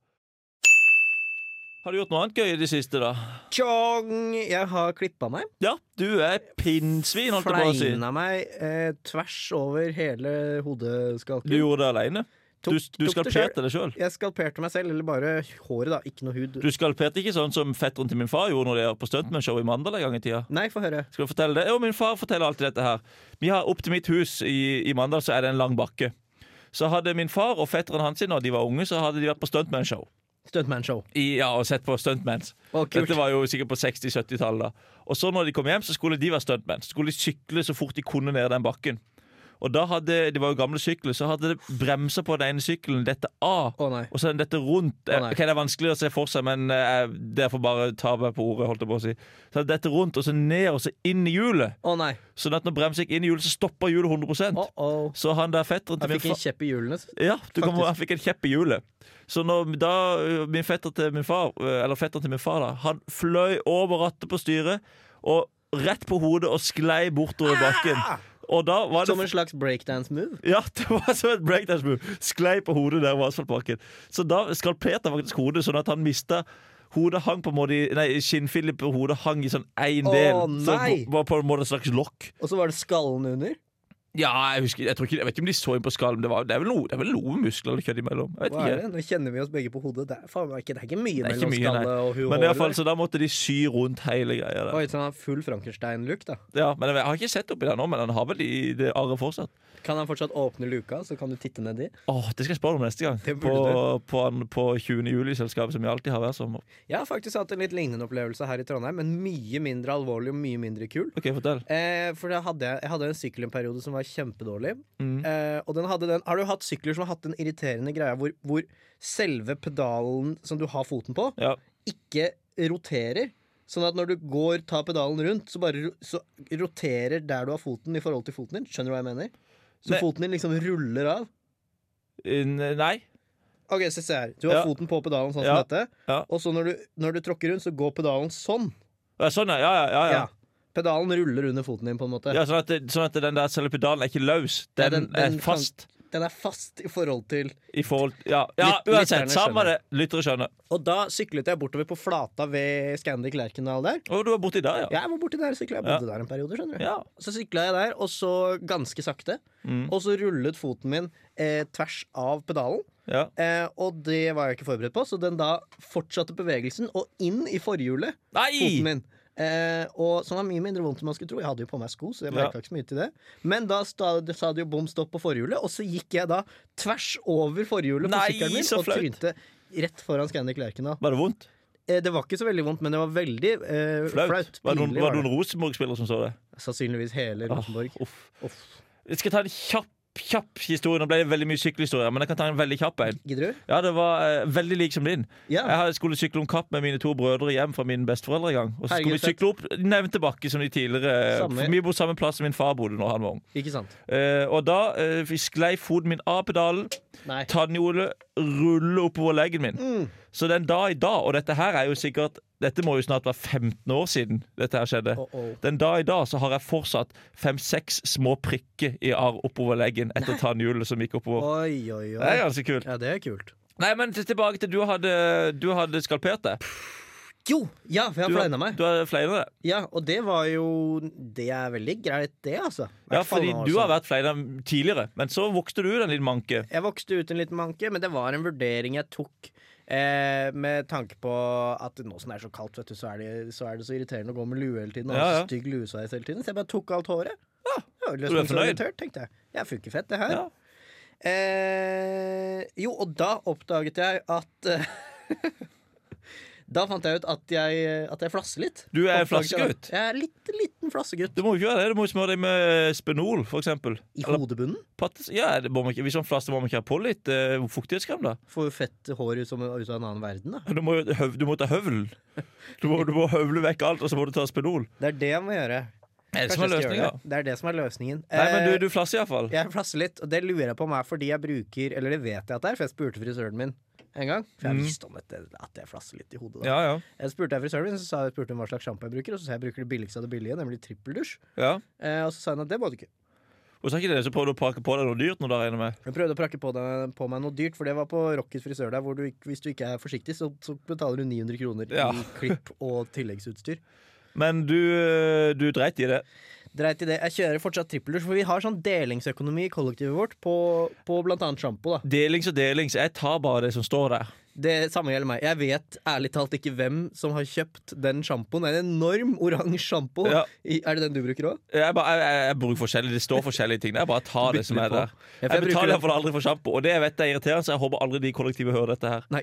Har du gjort noe annet gøy i det siste, da?
Tjong! Jeg har klippa meg.
Ja, du er pinnsvin, holdt jeg på å si.
Fleina meg eh, tvers over hele hodeskalken.
Du gjorde det aleine. Du,
Tok- tok
du
det selv.
skalperte deg sjøl.
Jeg skalperte meg selv, eller bare håret, da. Ikke noe hud.
Du skalperte ikke sånn som fetteren til min far gjorde når de var på stuntman-show i Mandal en gang i tida.
Nei, få høre.
Skal du fortelle det? Jo, min far forteller alltid dette her. Vi har Opp til mitt hus i, i Mandal så er det en lang bakke. Så hadde min far og fetteren hans når de var unge, så hadde de vært på stuntman-show.
Stuntman-show.
I- Ja, og sett på stuntmans.
Å, kult.
Dette var jo sikkert på 60-70-tallet. da. Og så når de kom hjem, så skulle de være stuntman. Så skulle de sykle så fort de kunne ned den bakken. Og da hadde, Det var jo gamle sykler, så hadde det bremsa på den ene sykkelen dette av.
Å nei.
Og så er dette rundt.
Å, nei.
ok, det er vanskelig å se for seg, men eh, derfor bare tar jeg på ordet. holdt jeg på å si. Så er dette rundt, og så ned, og så inn i hjulet.
Å nei.
Sånn at når bremsa gikk inn i hjulet, så stoppa hjulet 100
Oh, oh.
Så han der fetteren til
Jeg
min
fikk
far
en kjepp i hjulene.
ja, du kan,
Faktisk.
han fikk en kjepp i hjulet. Så når da ø, min fetter til min far, ø, eller fetteren til min far, da, han fløy over rattet på styret og rett på hodet og sklei bortover bakken. Og da var
Ah! Som
det
en slags breakdance-move.
ja, det var som et breakdance move. Sklei på hodet der over asfaltbakken. Så da skalperte han faktisk hodet, sånn at han mista Hodet hang på en måte i- Nei, skinnfillet på hodet hang i sånn én
Å,
del.
nei!
Så var på en måte et slags lokk.
Og så var det skallen under.
Ja, jeg husker Jeg, tror ikke, jeg vet ikke om de så inn på skallen, men det, var, det, er vel noe- det er vel noe muskler eller kjøtt imellom. Jeg vet
Hva
ikke.
er det? Nå kjenner vi oss begge på hodet. Det er, faen, meg ikke, det er ikke mye
Det er ikke
mellom
mye,
skalle
nei.
og hu-
Men i hvert
hår.
fall, så da måtte de sy rundt hele greia.
Det
Der.
var litt sånn full Frankenstein-look, da.
Ja, men Jeg har ikke sett oppi der nå, men han har vel i det arret fortsatt.
Kan han fortsatt åpne luka, så kan du titte nedi?
Åh, Det skal jeg spørre om neste gang.
Det burde
På, på, han- på 20. juli-selskapet som vi alltid har hver sommer.
Jeg har faktisk hatt en litt lignende opplevelse her i Trondheim, men mye mindre alvorlig og mye mindre kul.
Ok, fortell
Eh, for da hadde jeg, jeg hadde en sykkel en periode som var kjempedårlig.
Mm.
Eh, og den hadde den Har du hatt sykler som har hatt den irriterende greia hvor, hvor selve pedalen som du har foten på,
Ja.
ikke roterer? Sånn at når du går, tar pedalen rundt, så bare ro- så roterer der du har foten i forhold til foten din. Skjønner du hva jeg mener? Så
Nei.
foten din liksom ruller av.
Eh, Nei.
Ok, se, se her. Du har
Ja.
foten på pedalen sånn
Ja.
som dette.
Ja.
Og så når du, når du tråkker rundt, så går pedalen sånn.
Ja, sånn, ja. Ja, ja, ja, ja.
Ja. Pedalen ruller under foten din, på en måte.
ja sånn, at, det- sånn at den der selve pedalen er ikke løs. Den,
Nei, den- den
er fast
Den er fast i forhold til
i forhold Ja, ja
Lyt-
uansett.
lytterne
Samme det. Lyttere skjønner.
Og da syklet jeg bortover på flata ved Scandic Lerkendal der.
Å, du var borti der, ja.
Jeg var borti der og sykla. Jeg bodde der en periode, skjønner du.
Ja.
Så sykla jeg der, og så ganske sakte.
Mm.
Og så rullet foten min eh, tvers av pedalen.
ja.
Eh, og det var jeg ikke forberedt på, så den da fortsatte bevegelsen og inn i forhjulet. Foten
Nei!
min. Eh, og Som var mye mindre vondt enn man skulle tro. Jeg hadde jo på meg sko, så jeg merket
Ja.
ikke så mye til det. Men da sta, det sa det jo bom stopp på forhjulet, og så gikk jeg da tvers over forhjulet på
Nei,
sykkelen min
så
og
flaut.
trynte rett foran Scandic Lerkendal.
Var det vondt?
Eh, det var ikke så veldig vondt, men det var veldig eh, flaut.
Flaut? var det noen,
Pinlig
var
var
det
det.
noen Rosenborg-spillere som så det?
Sannsynligvis hele Rosenborg.
Åh, uff.
Uff.
Jeg skal ta en kjapp, kjapp historie. Nå ble det veldig mye sykkelhistorier, men jeg kan ta en veldig kjapp en.
Gidder du?
Ja, det var eh, veldig lik som din.
Ja.
Jeg hadde- skulle sykle om kapp med mine to brødre hjem fra mine besteforeldre en gang. Og så skulle
Herregud,
vi sykle opp nevnte bakke som de tidligere
Samme.
for Vi bodde samme plass som min far bodde når han var ung.
Ikke sant?
Eh, og da eh, vi sklei foten min av pedalen,
Nei.
tannhjulet ruller oppover leggen min.
Mm.
Så den dag i dag, og dette her er jo sikkert Dette må jo snart være 15 år siden dette her skjedde.
Oh, oh.
Den dag i dag så har jeg fortsatt fem-seks små prikker i arr oppover leggen etter tannhjulet som gikk oppover.
Oi, oi,
Det er
oi.
ganske kult.
Ja, det er kult.
Nei, men til- tilbake til du hadde, du hadde skalpert deg.
Jo! Ja, for jeg
Du,
har fleina meg.
du hadde fleina deg.
Ja, Og det var jo Det er veldig greit, det, altså.
Ja,
Hvert fall
fordi
nå,
du
altså.
har vært fleina tidligere, men så vokste du den lille manke.
Jeg vokste ut en liten manke, men det var en vurdering jeg tok. Eh, med tanke på at nå som det er så kaldt, vet du, så er det så, er det så irriterende å gå med lue hele tiden. Og ha
Ja, ja.
så stygg luesveis hele tiden Så jeg bare tok alt håret. Ja,
du er fornøyd?
Irritert, tenkte jeg. Jeg funker fett, det her.
Ja.
Eh, jo, og da oppdaget jeg at eh, Da fant jeg ut at jeg, at jeg flasser litt.
Du
Oppdaget
er
jeg da.
flassegutt.
Jeg er litt, liten flassegutt.
Du må jo ikke gjøre det, du må jo smøre deg med Spenol, for eksempel.
I
Eller
hodebunnen.
pattes- Ja, det må man ikke, hvis man flaster, må man ikke ha på litt eh, fuktighetskrem, da.
Får jo fett hår ut, som, ut av en annen verden, da.
Du må, jo høv, du må ta høvelen. Du må, du må høvle vekk alt, og så må du ta Spenol.
Det er det jeg må gjøre.
Er det som er
Kanskje jeg skal
løsninga?
gjøre Det. det er det som er løsningen.
Nei, men
Eh,
du, du flasser iallfall.
Jeg flasser litt, og det lurer jeg på om er fordi jeg bruker Eller det vet jeg at det er, for jeg spurte frisøren min en gang. For jeg
Mm.
visste om dette, at jeg flasser litt i hodet. Da.
Ja, ja.
Jeg spurte jeg frisøren min, så sa jeg spurte hun hva slags sjampo jeg bruker, og så sa jeg jeg bruker det billigste av det billige, nemlig trippeldusj.
ja.
Eh, og så sa hun at det må du ikke.
Og så er ikke det det som prøver å pakke på deg noe dyrt nå, da, regner jeg med.
Hun prøvde å prakke på, deg, på meg noe dyrt, for det var på Rockets frisør der, hvor du, ikke- hvis du ikke er forsiktig, så, så betaler du 900 kroner
Ja.
i klipp og tilleggsutstyr.
Men du, eh, du dreit i det.
Dreit i det. Jeg kjører fortsatt trippeldusj, for vi har sånn delingsøkonomi i kollektivet vårt på, på blant annet sjampo, da.
Delings og delings. Jeg tar bare det som står der.
Det samme gjelder meg. Jeg vet ærlig talt ikke hvem som har kjøpt den sjampoen. Det er En enorm oransje sjampo.
Ja.
I- Er det den du bruker òg?
Jeg, bare, jeg, jeg, jeg bruker forskjellig, Det står forskjellige ting. der. Jeg bare tar det som er der.
Ja, for
Jeg
jeg bruker
betaler
den-
iallfall aldri for sjampo, og det jeg vet er irriterende, så jeg håper aldri de i kollektivet hører dette her.
Nei.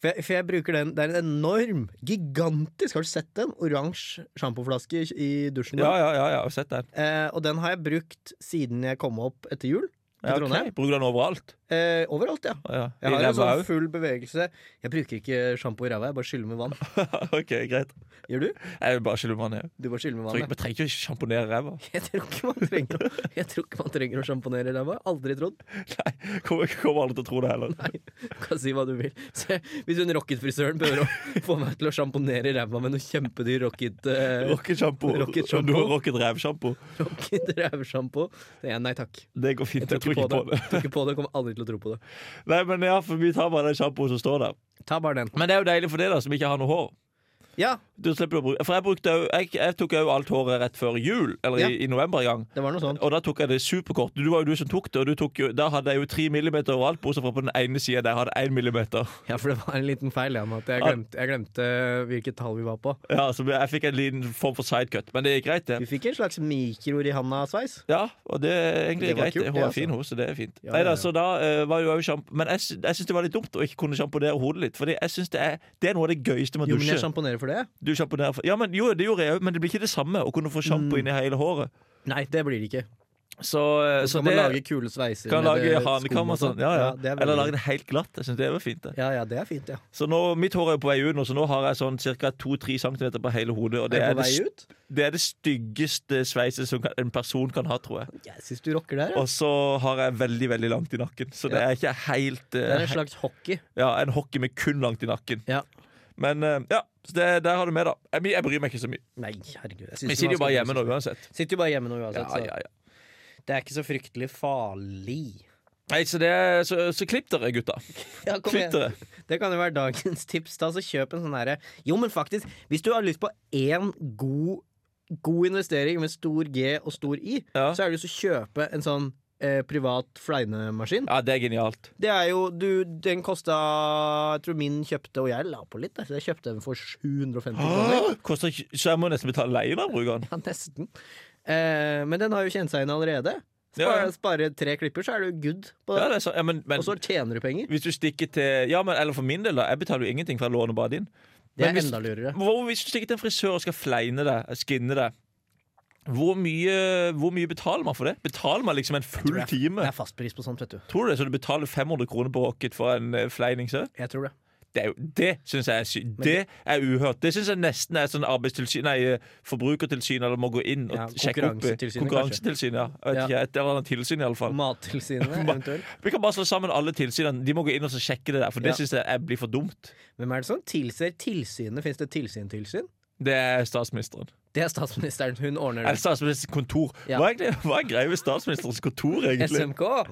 For jeg, for jeg bruker den. Det er en enorm, gigantisk Har du sett den? Oransje sjampoflaske i- i dusjen. min.
Ja, ja, ja, ja, jeg har sett den.
Eh, og den har jeg brukt siden jeg kom opp etter jul til
Ja, ok.
Trondheim.
Bruker den overalt?
Eh, overalt, ja.
Ja, ja.
Jeg
I
har en
ræva
sånn
òg?
full bevegelse. Jeg bruker ikke sjampo i ræva, jeg bare skyller med vann.
OK, greit.
Gjør du?
Jeg vil bare skylle meg ned.
Du bare skyller med vann. ja.
Vi trenger ikke å sjamponere ræva.
Jeg tror ikke man trenger, å- jeg tror ikke man trenger å sjamponere ræva. Aldri trodd.
Nei, kommer, kommer alle til å tro det heller.
Nei, du kan si hva du vil. Se, hvis hun rocket-frisøren prøver å få meg til å sjamponere ræva med noe kjempedyr rocket, eh,
Rocket-sjampo.
Rocket
Og du har rocket-rævsjampo.
rocket rævsjampo, så sier jeg nei takk.
Det går fint.
Jeg tror
Jeg tror
ikke på
det.
det. Tror ikke på det, kommer aldri til å tro på det.
Nei, men ja, for Vi tar bare den sjampoen som står der.
Ta bare den.
Men det er jo deilig for deg, da, som ikke har noe hår.
Ja,
Du slipper å bruke For jeg, brukte, jo- jeg, jeg tok òg alt håret rett før jul, eller i, i november en gang.
det var noe sånt.
Og da tok jeg det superkort. Du var jo du som tok det, og du tok jo, da hadde jeg jo tre millimeter overalt, bortsett fra på den ene sida der jeg hadde én millimeter.
Ja, for det var en liten feil igjen. At jeg, glemte, jeg glemte eh, hvilket tall vi var på.
Ja, så jeg fikk en liten form for sidecut, men det gikk greit,
Du
det.
fikk en slags mikroer i handa-sveis.
Ja, og det er egentlig
Det var
greit.
kult,
Hun
det,
er
altså.
fin, hun, så det er fint.
Ja,
Neida,
ja, ja.
så da eh, var jo jeg jo sjamp... Men jeg, sy- jeg syns det var litt dumt å ikke kunne sjamponere hodet litt, Fordi jeg synes det, er, det er noe av det gøyeste med
Jo,
å
men jeg
dusje.
sjamponerer for det.
Du
Mm.
sjamponerer for- Ja, men jo, det gjorde jeg òg, men det blir ikke det samme å kunne få sjampo inn i hele håret.
Nei, det blir det ikke.
Så, eh,
Så
så
kan man lage kule sveiser.
kan
med
lage
det-
hanekam
skum
og sånn. Ja, ja.
det er veldig-
Eller lage det helt glatt. Jeg synes det var fint. Det.
Ja, ja, det er fint, ja.
Så nå, Mitt hår er jo på vei ut nå, så nå har jeg sånn ca. 2-3 cm på hele hodet. Og det
er
er
du på
det,
vei
st-
ut?
det er det styggeste sveiset som kan, en person kan ha, tror jeg.
Jeg syns du rocker der. Ja.
Og så har jeg veldig veldig langt i nakken, så det
Ja.
er ikke helt
Det er
eh,
en slags hockey.
he- ja, en hockey med kun langt i nakken.
Ja.
Men eh, ja, så det, der har du med, da. Jeg, jeg bryr meg ikke så mye.
Nei, herregud. Jeg, synes
Vi
det
sitter jo
var
bare
ganske
hjemme nå
koselig.
uansett.
Sitter jo bare hjemme nå uansett,
Ja, ja, ja.
så det er ikke så fryktelig farlig.
Nei, så, det er, så, så klipp dere, gutta.
Ja, kom
Klipp
igjen.
dere.
Det kan jo være dagens tips. da Så kjøp en sånn herre Jo, men faktisk, hvis du har lyst på én god God investering med stor G og stor I,
Ja.
så er det jo så kjøpe en sånn eh, privat fleinemaskin.
Ja, det er genialt.
Det er jo du, Den kosta Jeg tror min kjøpte, og jeg la på litt. da, så Jeg kjøpte den for 750 kroner.
Koster, ikke- så jeg må nesten betale leien av brukeren.
Ja, nesten. Eh, men den har jo kjent seg inn allerede. Spare,
Ja, ja.
spare tre klipper, så er du good på
Ja,
det.
det er så, ja, men, men,
Og så tjener du penger.
hvis du stikker til Ja, men eller for min del, da. Jeg betaler jo ingenting, for jeg låner bare din.
Det er
Men hvis-
enda lurere.
Hvor, hvis du stikker til en frisør og skal fleine deg, skinne deg, hvor mye, hvor mye betaler man for det? Betaler man liksom en
tror
full
jeg- Det
time?
er fastpris på sånt, vet du.
Tror du det? Så du betaler 500 kroner på Rocket for en eh, fleining? Så?
Jeg tror det.
Det, er jo- det syns jeg er sykt. Det er uhørt. Det syns jeg nesten er sånn arbeidstilsyn Nei, eh, forbrukertilsyn eller må gå inn og
Ja,
sjekke opp. i.
Konkurransetilsynet,
Konkurransetilsyn, ja. Jeg vet
Ja.
ikke, et eller annet tilsyn, iallfall.
Mattilsynet, eventuelt.
Vi kan bare slå sammen alle tilsynene. De må gå inn og så sjekke det der, for
Ja.
det syns jeg er- blir for dumt.
Hvem er det som tilser tilsynet? Fins det tilsyn-tilsyn?
Det er statsministeren.
Det er statsministeren. Hun ordner
Eller
det.
statsministerens kontor.
Ja.
Hva, er egentlig, hva er greia med statsministerens kontor, egentlig?
SMK!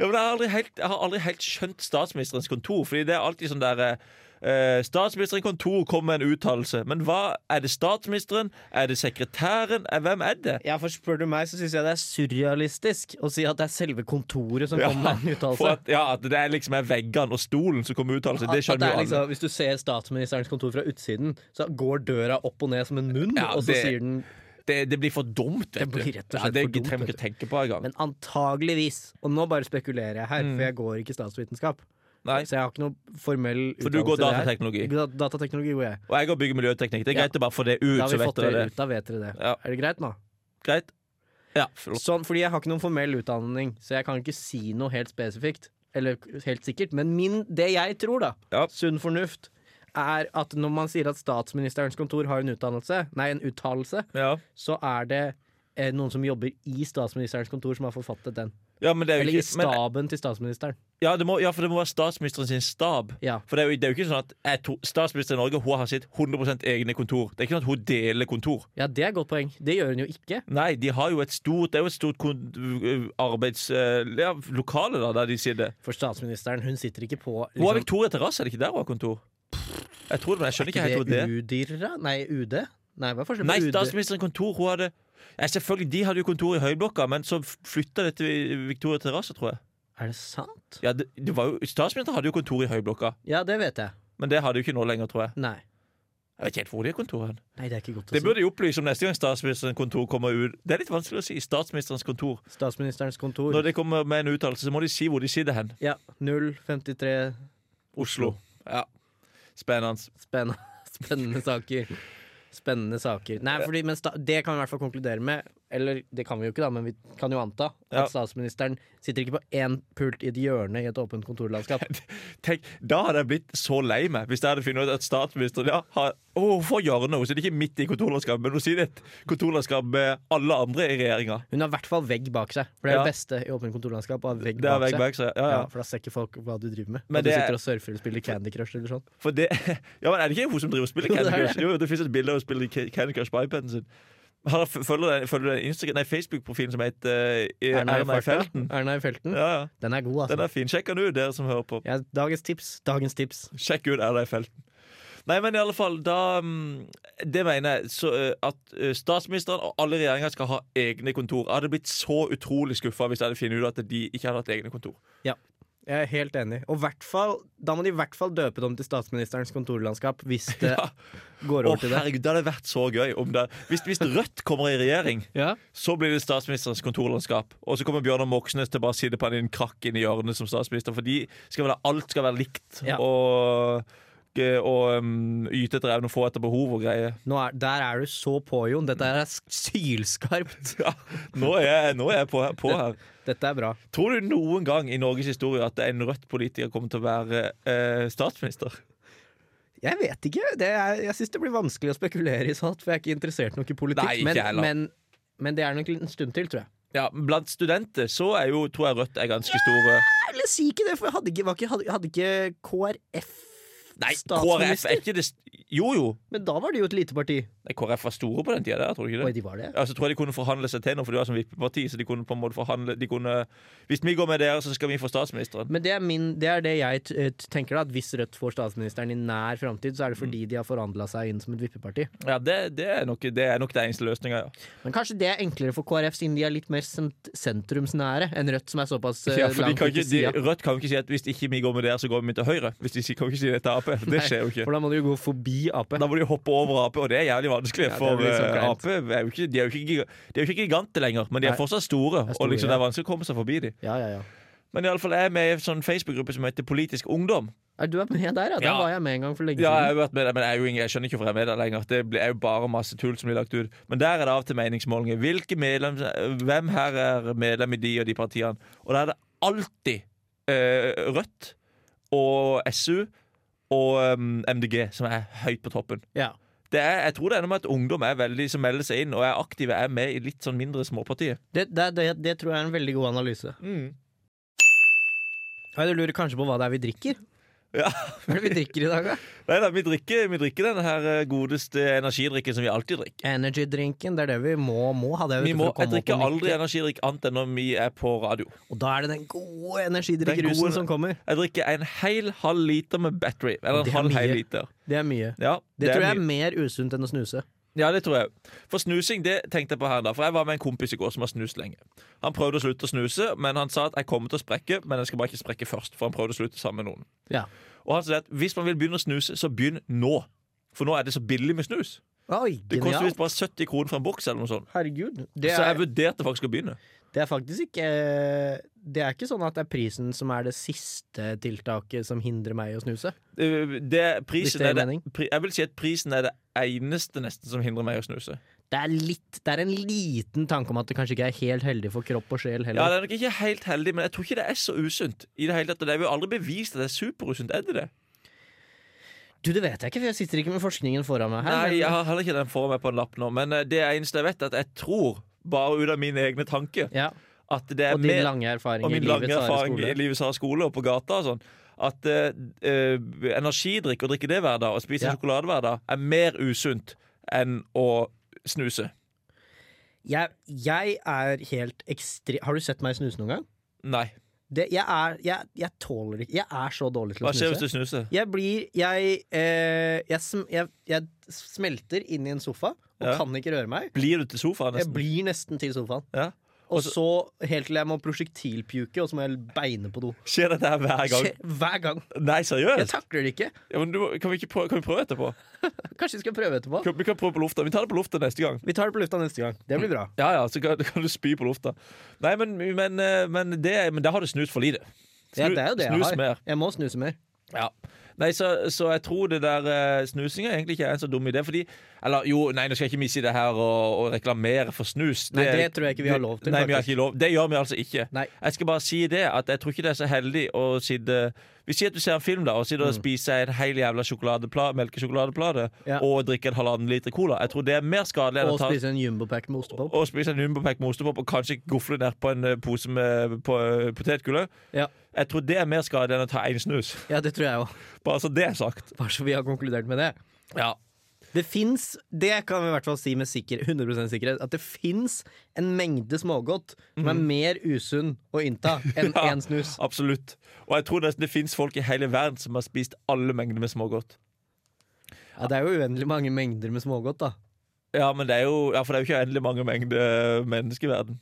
Ja, men jeg, har aldri helt, jeg har aldri helt skjønt statsministerens kontor, Fordi det er alltid sånn der eh, Statsministerens kontor kommer med en uttalelse. Men hva er det statsministeren? Er det sekretæren? Er, hvem er det?
Ja, for Spør du meg, så syns jeg det er surrealistisk å si at det er selve kontoret som
Ja,
kommer med en
For
uttalelse.
at, ja, at det er liksom er veggene og stolen som kommer med uttalelser. Det
At det
skjønner
er
jo alle.
liksom, hvis du ser statsministerens kontor fra utsiden, så går døra opp og ned som en munn,
Ja,
og så
det-
sier den
Det, det blir for dumt, vet
liksom- Det blir
du.
rett og slett
ja, det
for dumt,
trenger vi
vet
ikke tenke på engang.
Men antageligvis, og nå bare spekulerer jeg her, for jeg går ikke i statsvitenskap.
Mm. Nei.
Så jeg har ikke noe formell
For du går
utdannelse i det her.
datateknologi.
Da- Datateknologi går jeg.
Og jeg går bygge miljøteknikk. Det er
Ja.
greit å bare få det ut,
Da har
så
vi
vet
fått
dere
det
det.
ut, da vet dere det.
Ja.
Er det greit nå?
Greit? Ja, flott.
Sånn, fordi jeg har ikke noen formell utdanning, så jeg kan ikke si noe helt spesifikt. Eller helt sikkert, men min, det jeg tror, da,
Ja.
sunn fornuft, er at når man sier at statsministerens kontor har en utdannelse, nei, en uttalelse,
Ja.
så er det eh, noen som jobber i statsministerens kontor, som har forfattet den.
Ja, men det er jo
Eller i
ikke,
staben
men,
til statsministeren.
ja, det må, ja, for det må være statsministeren sin stab.
Ja.
For det er jo, det er jo ikke sånn at jeg to, Statsministeren i Norge hun har sitt 100 egne kontor. Det er ikke sånn at hun deler kontor.
ja, det er et godt poeng. Det gjør hun jo ikke.
Nei, de har jo et stort Det er jo et stort kon, arbeids... eh, Ja, lokale, da, der de sitter.
For statsministeren, hun sitter ikke på liksom,
Hun har Victoria Terrasse, er det ikke der hun har kontor? Jeg tror det, men jeg skjønner ikke helt hvor det er.
Udyra? Nei, UD? Nei, hva er forskjellen
Nei,
på UD?
statsministerens kontor hun hadde ja, Selvfølgelig, de hadde jo kontor i Høyblokka, men så flytta det til Victoria Terrasse, tror jeg.
Er det sant?
Ja, det, det var jo, statsministeren hadde jo kontor i Høyblokka,
Ja, det vet jeg.
men det hadde jo ikke nå lenger, tror jeg.
Nei.
Jeg vet ikke helt hvor de har kontor hen.
Nei, det er ikke godt å
Det burde de opplyse om neste gang statsministerens kontor kommer ut. Det er litt vanskelig å si. Statsministerens kontor.
si. Statsministerens kontor.
Når de kommer med en uttalelse, så må de si hvor de sitter hen.
Ja, 053
Oslo. Ja. Spennende.
spennende, spennende saker. Spennende saker. Nei, fordi, men sta det kan vi i hvert fall konkludere med. Eller det kan vi jo ikke, da, men vi kan jo anta at
Ja.
statsministeren sitter ikke på én pult i et hjørne i et åpent kontorlandskap.
Tenk, Da hadde jeg blitt så lei meg hvis jeg hadde funnet ut at statsministeren ja, har, å, for hjørnet. Hun sitter ikke midt i kontorlandskapet, men hun sitter i et kontorlandskap med alle andre i regjeringa.
Hun har i hvert fall vegg bak seg. For det er
Ja.
det beste i åpent kontorlandskap. Å ha vegg
Det er
bak
vegg
seg.
bak seg. Ja,
Ja,
ja.
for da ser ikke folk hva du driver med.
Men
Men du
det-
sitter og surfer eller spiller Candy Crush eller sånn.
For det, ja, men er det ikke hun som driver og spiller
Jo, det
Candy
er det.
Crush? Jo, det fins et bilde av hun spiller Ca- Candy Crush på iPaden sin. Han har- følger den- følger den Instagram- nei, Facebook-profilen som heter eh, Erna i felten.
Erna i felten.
Ja, ja.
Den er god, altså.
Den er fin. Sjekk den ut, dere som hører på.
Ja, dagens tips. Dagens tips.
Sjekk ut Erna i felten. Nei, men i alle fall, da mm, Det mener jeg. Så, eh, at eh, statsministeren og alle regjeringer skal ha egne kontor. Jeg hadde blitt så utrolig skuffa hvis jeg hadde funnet ut at de ikke hadde hatt egne kontor.
Jeg er helt enig. Og hvert fall, da må de i hvert fall døpe det om til statsministerens kontorlandskap hvis det
Ja.
går
Å,
over til det.
herregud, det hadde vært så gøy om det Hvis, hvis Rødt kommer i regjering
Ja.
Så blir det statsministerens kontorlandskap. Og så kommer Bjørnar Moxnes til å bare sitte på en liten krakk inni hjørnet som statsminister. For de skal være, alt skal være likt.
Ja.
Og eh, og um, yte etter evne og få etter behov og greier.
Nå er, der er du så på, Jon. Dette er sk- sylskarpt.
Ja, nå er jeg, nå er jeg på, her- på her.
Dette er bra.
Tror du noen gang i Norges historie at en rødt politiker kommer til å være eh, statsminister?
Jeg vet ikke. Det er, jeg syns det blir vanskelig å spekulere i sånt, for jeg er ikke interessert nok i politikk.
Nei, ikke
men,
jeg heller.
men, men det er nok en stund til, tror jeg.
Ja, Blant studenter så er jo, tror jeg Rødt er ganske store.
Eller si ikke det, for jeg hadde ikke, var ikke, hadde, hadde ikke KrF
Nei, KrF
statsminister?
er ikke det st- Jo, jo.
Men da var det jo et lite parti.
Nei, KrF var store på den tida der, tror du ikke
Oi,
det?
de var det?
Ja, så Altså, tror jeg de kunne forhandle seg til noe, for de var som vippeparti. Så de kunne på en måte forhandle de kunne, Hvis vi går med dere, så skal vi få statsministeren.
Men det er, min, det er det jeg t t- tenker, da, at hvis Rødt får statsministeren i nær framtid,
Mm.
så er det fordi de har forhandla seg inn som et vippeparti.
Ja, Det, det, er, nok, det er nok den eneste løsninga, ja.
Men kanskje det er enklere for KrF, siden de er litt mer sent sentrumsnære enn Rødt, som er såpass eh,
ja for de
langt
kan
ut
ikke,
til sida.
de, Rødt kan jo ikke si at hvis ikke vi går med dere, så går vi til Høyre. Hvis de ikke- kan ikke si det til Ap. Det skjer jo ikke.
For da må de jo gå forbi Ap.
Da må de hoppe over Ap, og det er jævlig vanskelig.
det
For
blir så
eh,
kleint.
Ap er jo ikke, de er jo ikke, giga- de er jo ikke giganter lenger, men de er
Nei.
fortsatt store.
er
og
store,
liksom
ja.
det er vanskelig å komme seg forbi dem.
Ja, ja, ja.
Men iallfall jeg er med i en sånn Facebook-gruppe som heter Politisk ungdom.
Er du er med der, ja? Der
Ja.
var jeg med en gang for lenge
Ja, jeg
siden.
har jo vært med der, men jeg, er jo ingen, jeg skjønner ikke hvorfor jeg er med der lenger. Det blir- er jo bare masse tull som blir lagt ut. Men der er det av til meningsmålinger. Hvilke medlem, hvem her er medlem i de og de partiene? Og der er det alltid eh, Rødt og SU og um, MDG som er høyt på toppen.
Ja.
Det er, jeg tror det er noe med at ungdom er veldig som melder seg inn og er aktive, er med i litt sånn mindre småpartier.
Det, det, det, det tror jeg er en veldig god analyse. Ja, du lurer kanskje på hva det er vi drikker?
Ja.
Hva er det vi drikker i dag, da?
Nei da, vi drikker, vi drikker denne her eh, godeste energidrikken som vi alltid drikker.
Energy-drinken, det er det vi må, må ha. Det, vet
Vi
du,
må,
for å komme opp
jeg drikker
og
aldri
nikke.
energidrikk annet enn når vi er på radio.
Og da er det den gode
Den gode-
energidrikkrusen som kommer.
Jeg drikker en hel halv liter med battery. Eller en
Det er
halv hel
mye.
liter.
Det er mye.
Ja,
Det,
er
tror jeg
mye.
er mer usunt enn å snuse.
Ja, det tror jeg. For snusing, det tenkte jeg på her da. For jeg var med en kompis i går som har snust lenge. Han prøvde å slutte å snuse, men han sa at jeg kommer til å sprekke, men jeg skal bare ikke sprekke først. For han prøvde å slutte sammen med noen.
Ja.
Og han sa at hvis man vil begynne å snuse, så begynn nå. For nå er det så billig med snus.
Oi,
Det koster
genialt.
visst bare 70 kroner for en boks eller noe sånt.
Herregud. Det
Så jeg
er,
vurderte faktisk å begynne.
det er faktisk ikke Det er ikke sånn at det er prisen som er det siste tiltaket som hindrer meg i å snuse.
Eh, Det,
Hvis
prisen
det gir
er det,
mening.
pri, jeg vil si at prisen er det eneste nesten som hindrer meg å snuse.
Det er, litt, det er en liten tanke om at det kanskje ikke er helt heldig for kropp og sjel
Ja,
heller.
det er nok ikke helt heldig, men jeg tror ikke det er så usunt. I det hele tatt, og Det er jo aldri bevist at det er superusunt. Er det det?
Du, det vet jeg ikke, for jeg sitter ikke med forskningen foran meg her.
Nei,
men-
jeg har heller ikke den foran meg på en lapp nå, men eh, det eneste jeg vet, er at jeg tror, bare ut av mine egne tanker,
ja.
at det er
Og din
mer
lange erfaring
Og
i
min lange
livets harde
erfaring i
skole.
livets harde skole og på gata og sånn. At eh, eh, energidrikk, å drikke det hver dag og spise
Ja.
sjokolade hver dag, er mer usunt enn å snuse.
Jeg, jeg er helt ekstrem Har du sett meg snuse noen gang?
Nei.
Det, jeg, er, jeg, jeg tåler ikke Jeg er så dårlig til å
Hva skjer hvis
snuse.
du snuser?
Jeg blir jeg, eh, jeg, sm, jeg, jeg smelter inn i en sofa og
Ja.
kan ikke røre meg.
Blir du til sofaen
Jeg
nesten?
blir nesten til sofaen.
Ja.
Og så helt til jeg må prosjektilpuke, og så må jeg beine på do.
Skjer dette her hver gang?
Skjer Hver gang.
Nei,
Jeg
seriøst?
takler det ikke.
Ja, men du, må- kan, vi ikke prøve, kan vi prøve etterpå?
Kanskje vi skal prøve etterpå.
Kan, vi kan prøve på lufta. Vi tar det på lufta neste gang.
Vi tar det på lufta neste gang. Det blir bra.
Ja, ja, så kan, kan du spy på lufta. Nei, men, men, eh, men, det, men da har du snust for lite.
Ja, det er jo det jeg
snus
har.
mer.
Jeg må snuse mer.
Ja. Nei, så, så jeg tror det der eh, snusinga egentlig ikke er en så dum idé, fordi Eller jo, nei, nå skal jeg ikke misse det her og, og reklamere for snus.
Nei, det tror jeg ikke vi har lov til,
Nei, vi har
faktisk.
ikke lov. Det gjør vi altså ikke.
Nei.
Jeg skal bare si det, at jeg tror ikke det er så heldig å sitte Vi sier at du ser en film, da, og sitter og spiser en hel jævla sjokoladepla, melkesjokoladeplate
Mm. Ja.
og drikker en halvannen liter cola. Jeg tror det er mer skadelig enn
Og
å ta
spise en jumbopack med ostepop.
og spise en Jumbo-pack med ostepop og kanskje gofle ned på en eh, pose med på, eh, potetgull.
Ja.
Jeg tror det er mer skadelig enn å ta én snus.
Ja, det tror jeg òg.
Bare så det er sagt.
Bare så vi har konkludert med det.
Ja.
Det fins, det kan vi i hvert fall si med sikker, 100 sikkerhet, at det fins en mengde smågodt som er mer usunn å innta enn
Ja.
én snus.
Absolutt. Og jeg tror nesten det fins folk i hele verden som har spist alle mengder med smågodt.
Ja, det er jo uendelig mange mengder med smågodt, da.
Ja, men det er jo, ja, for det er jo ikke uendelig mange mengder mennesker i verden.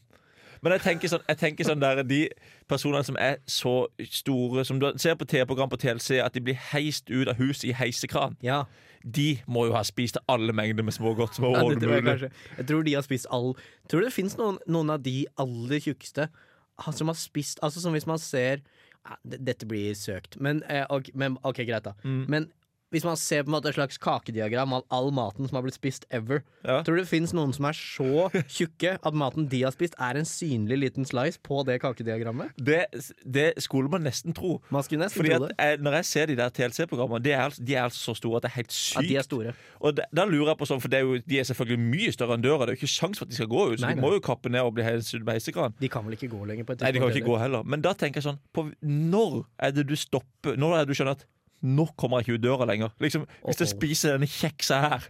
Men jeg tenker sånn, jeg tenker sånn der, de personene som er så store, som du ser på TV-program på TLC, at de blir heist ut av huset i heisekran,
Ja,
de må jo ha spist alle mengder med smågodt som
ja det
overhodet
tror jeg
mulig.
kanskje. Jeg tror de har spist all Tror du det fins noen, noen av de aller tjukkeste ha- som har spist Altså ah,
Mm.
som hvis man ser ja, d- Dette blir søkt, men, eh, ok, men OK, greit, da. Men Hvis man ser på en måte et slags kakediagram av all maten som har blitt spist ever
Ja.
Tror du det fins noen som er så tjukke at maten de har spist, er en synlig liten slice på det kakediagrammet?
Det, det skulle man nesten tro.
Man skulle nesten
Fordi
tro
at
det.
jeg, Når jeg ser de der TLC-programmene, de, er altså- de er altså så store at det er helt sykt.
At de er store.
Og da, da lurer jeg på sånn, for det er jo, De er selvfølgelig mye større enn døra. Det er jo ikke sjans for at de skal gå ut. Så
Nei,
de
nei.
må jo kappe ned og bli helt sydd med heisekran.
De kan vel ikke gå lenger? på et
Nei, de kan jo ikke
tidspunkt,
gå heller. Men da tenker jeg sånn på, Når er det du stopper Når er det du skjønner at nå kommer jeg ikke ut døra lenger? Liksom, Hvis jeg
Uh-oh.
spiser denne kjeksa her,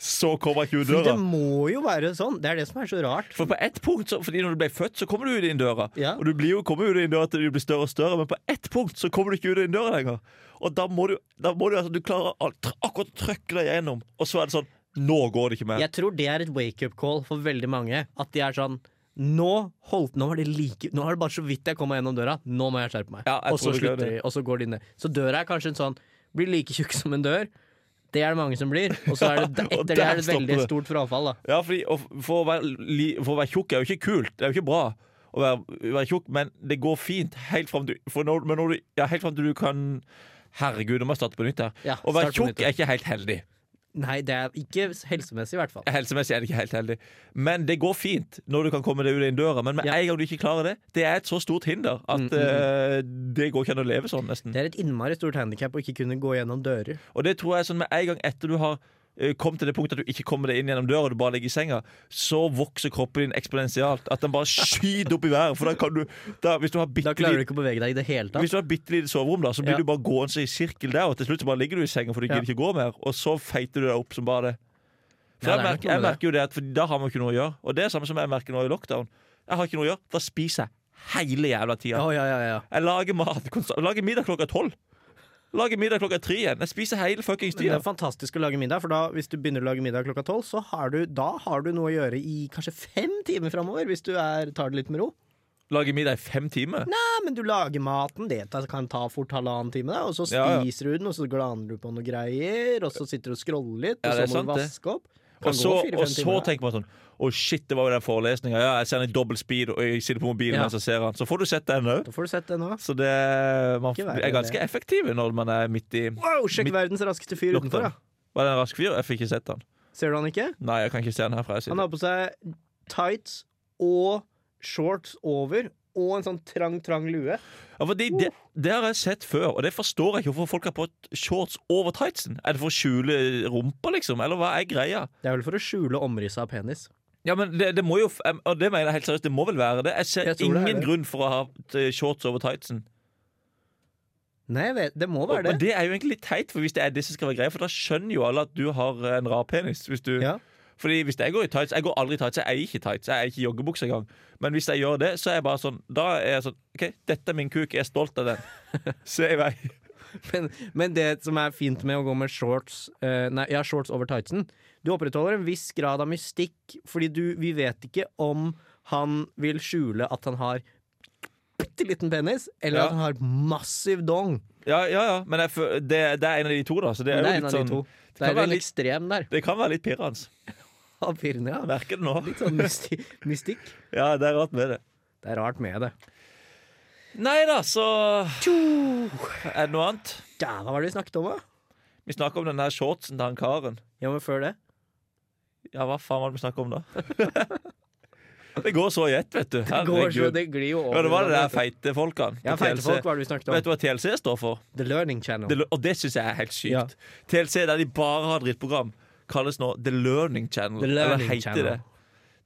så kommer jeg ikke ut
eller?
døra.
Det må jo være sånn! Det er det som er så rart.
For på ett punkt, så, fordi når du ble født, så kommer du ut inn døra.
Ja.
Og du blir jo, kommer jo ut inn døra til du blir større og større, men på ett punkt så kommer du ikke ut inn døra lenger. Og da må du, da må du altså, du klarer al- tr- akkurat å trykke deg gjennom, og så er det sånn Nå går det ikke mer.
Jeg tror det er et wake-up call for veldig mange. At de er sånn Nå holdt, nå var det like Nå var det bare så vidt jeg kom meg gjennom døra. Nå må jeg skjerpe meg.
Ja, jeg
og så
tror du gjør
slutter de, og så går de ned. Så døra er kanskje en sånn Blir like tjukk som en dør. Det er det mange som blir. Og så er det,
Ja, og
etter det
der
er det
stopper
veldig
det.
stort frafall, da.
Ja, fordi å, f- for, å være, li, for å være tjukk er jo ikke kult. Det er jo ikke bra å være, være tjukk, men det går fint helt fram til, for når, men når du, ja, helt frem til du kan Herregud, nå må jeg starte på nytt her.
Ja,
å være
start på
tjukk
nytt.
er ikke helt heldig.
Nei, det er ikke helsemessig, i hvert fall.
Helsemessig er det ikke helt heldig. Men det går fint når du kan komme deg ut inn døra. Men med
Ja. Mm,
en gang du ikke klarer det, det er et så stort hinder at eh, det går ikke an å leve sånn, nesten.
Det er et innmari stort handikap å ikke kunne gå gjennom dører.
Og det tror jeg er sånn med en gang etter du har eh, kommet til det punktet at du ikke kommer deg inn gjennom døra, du bare ligger i senga, så vokser kroppen din eksponentielt. At den bare skyter opp i været. For da kan du da, Hvis du har
Da
bitte
klarer du
lite
ikke å bevege deg i det hele tatt.
hvis du har bitte lite soverom, da, så blir
Ja.
du bare gående i sirkel der, og til slutt så bare ligger du i senga, for du
Ja.
gidder ikke gå mer. Og så feiter du deg opp som bare det. For
Ja,
jeg,
det er
merker,
noe
jeg
med
merker jo det at for da har man ikke noe å gjøre. Og det er samme som jeg merker nå i lockdown. Jeg har ikke noe å gjøre. Da spiser jeg hele jævla tida.
Å, ja, ja, ja.
Jeg lager mat konstant. Lager middag klokka tolv. Lager middag klokka tre igjen. Jeg spiser hele fuckings
Men det
tida.
er fantastisk å lage middag, for da, hvis du begynner å lage middag klokka tolv, så har du, da har du noe å gjøre i kanskje fem timer framover, hvis du er, tar det litt med ro.
Lager middag i fem timer.
Nei, men du lager maten, det ta- kan ta fort halvannen time, da, og så
Ja, ja.
spiser du den, og så glaner du på noen greier, og så sitter du og scroller litt,
Ja,
og
det er
så må
sant,
du
det.
vaske opp. Kan
Og så,
gå fire-fem
og så
timer, da.
tenker man sånn Å, shit, det var jo den forelesninga. Ja, jeg ser den i dobbel speed, og jeg sitter på mobilen
Ja.
mens jeg ser den. Så får du sett den òg.
Da får du sett det nå.
Så det, man
Ikke verre
er ganske effektiv når man er midt i
Wow, sjekk
Mitt-
verdens raskeste fyr utenfor,
lockdown.
da.
Var det en rask fyr? Jeg fikk ikke sett han.
Ser du han ikke?
Nei, jeg kan ikke se han
Han
herfra. Jeg sitter.
har på seg tights og shorts over, og en sånn trang, trang lue.
Ja, fordi det, det har jeg sett før, og det forstår jeg ikke hvorfor folk har på shorts over tightsen. Er det for å skjule rumpa, liksom? Eller hva er greia?
Det er vel for å skjule omrisset av penis.
Ja, men det, det må jo f- em, Og det mener jeg helt seriøst, det må vel være det. Jeg ser
Jeg tror det er
ingen
det.
grunn for å ha eh, shorts over tightsen.
Nei, jeg vet, det må
Og,
være det.
og det er jo egentlig litt teit, for hvis det er det som skal være greia, for da skjønner jo alle at du har eh, en rar penis. Hvis du,
Ja.
Fordi hvis jeg går i tights Jeg går aldri i tights, jeg eier ikke tights, jeg eier ikke joggebukse engang. Men hvis jeg gjør det, så er jeg bare sånn Da er jeg sånn OK, dette er min kuk, jeg er stolt av den. Se i vei.
Men, men det som er fint med å gå med shorts eh, Nei, ja, shorts over tightsen Du opprettholder en viss grad av mystikk, fordi du, vi vet ikke om han vil skjule at han har bitte liten penis, eller
Ja.
at han har massiv dong.
Ja, ja, ja. men jeg, fø- det, det er en av de to, da. Så det
Det
er,
er
jo
en
litt
av de
sånn
to. Det
kan
er
være
en
litt-
ekstrem der.
Det kan være litt pirrende.
Av pirrene,
Jeg
ja.
merker det nå.
Litt sånn mysti mystikk.
Ja, det er rart med det.
Det er rart med det.
Nei da, så
Tjo!
er det noe annet.
Ja, hva var det vi snakket om, da?
Vi snakker om den der shortsen til han karen.
Ja, men før det?
Ja, hva faen var det vi snakka om da? det går så i ett, vet du.
Det går så
Herregud.
det glir jo over.
Ja, det var det der
hverandre.
feite folkene.
Ja,
på
feite
TLC.
folk var det vi snakket
Vet
om.
du hva TLC står for?
The Learning Channel.
Det, og det syns jeg er helt sykt.
Ja.
TLC, der de bare har drittprogram, kalles nå The Learning Channel.
The Learning
Eller heter
Channel.
det.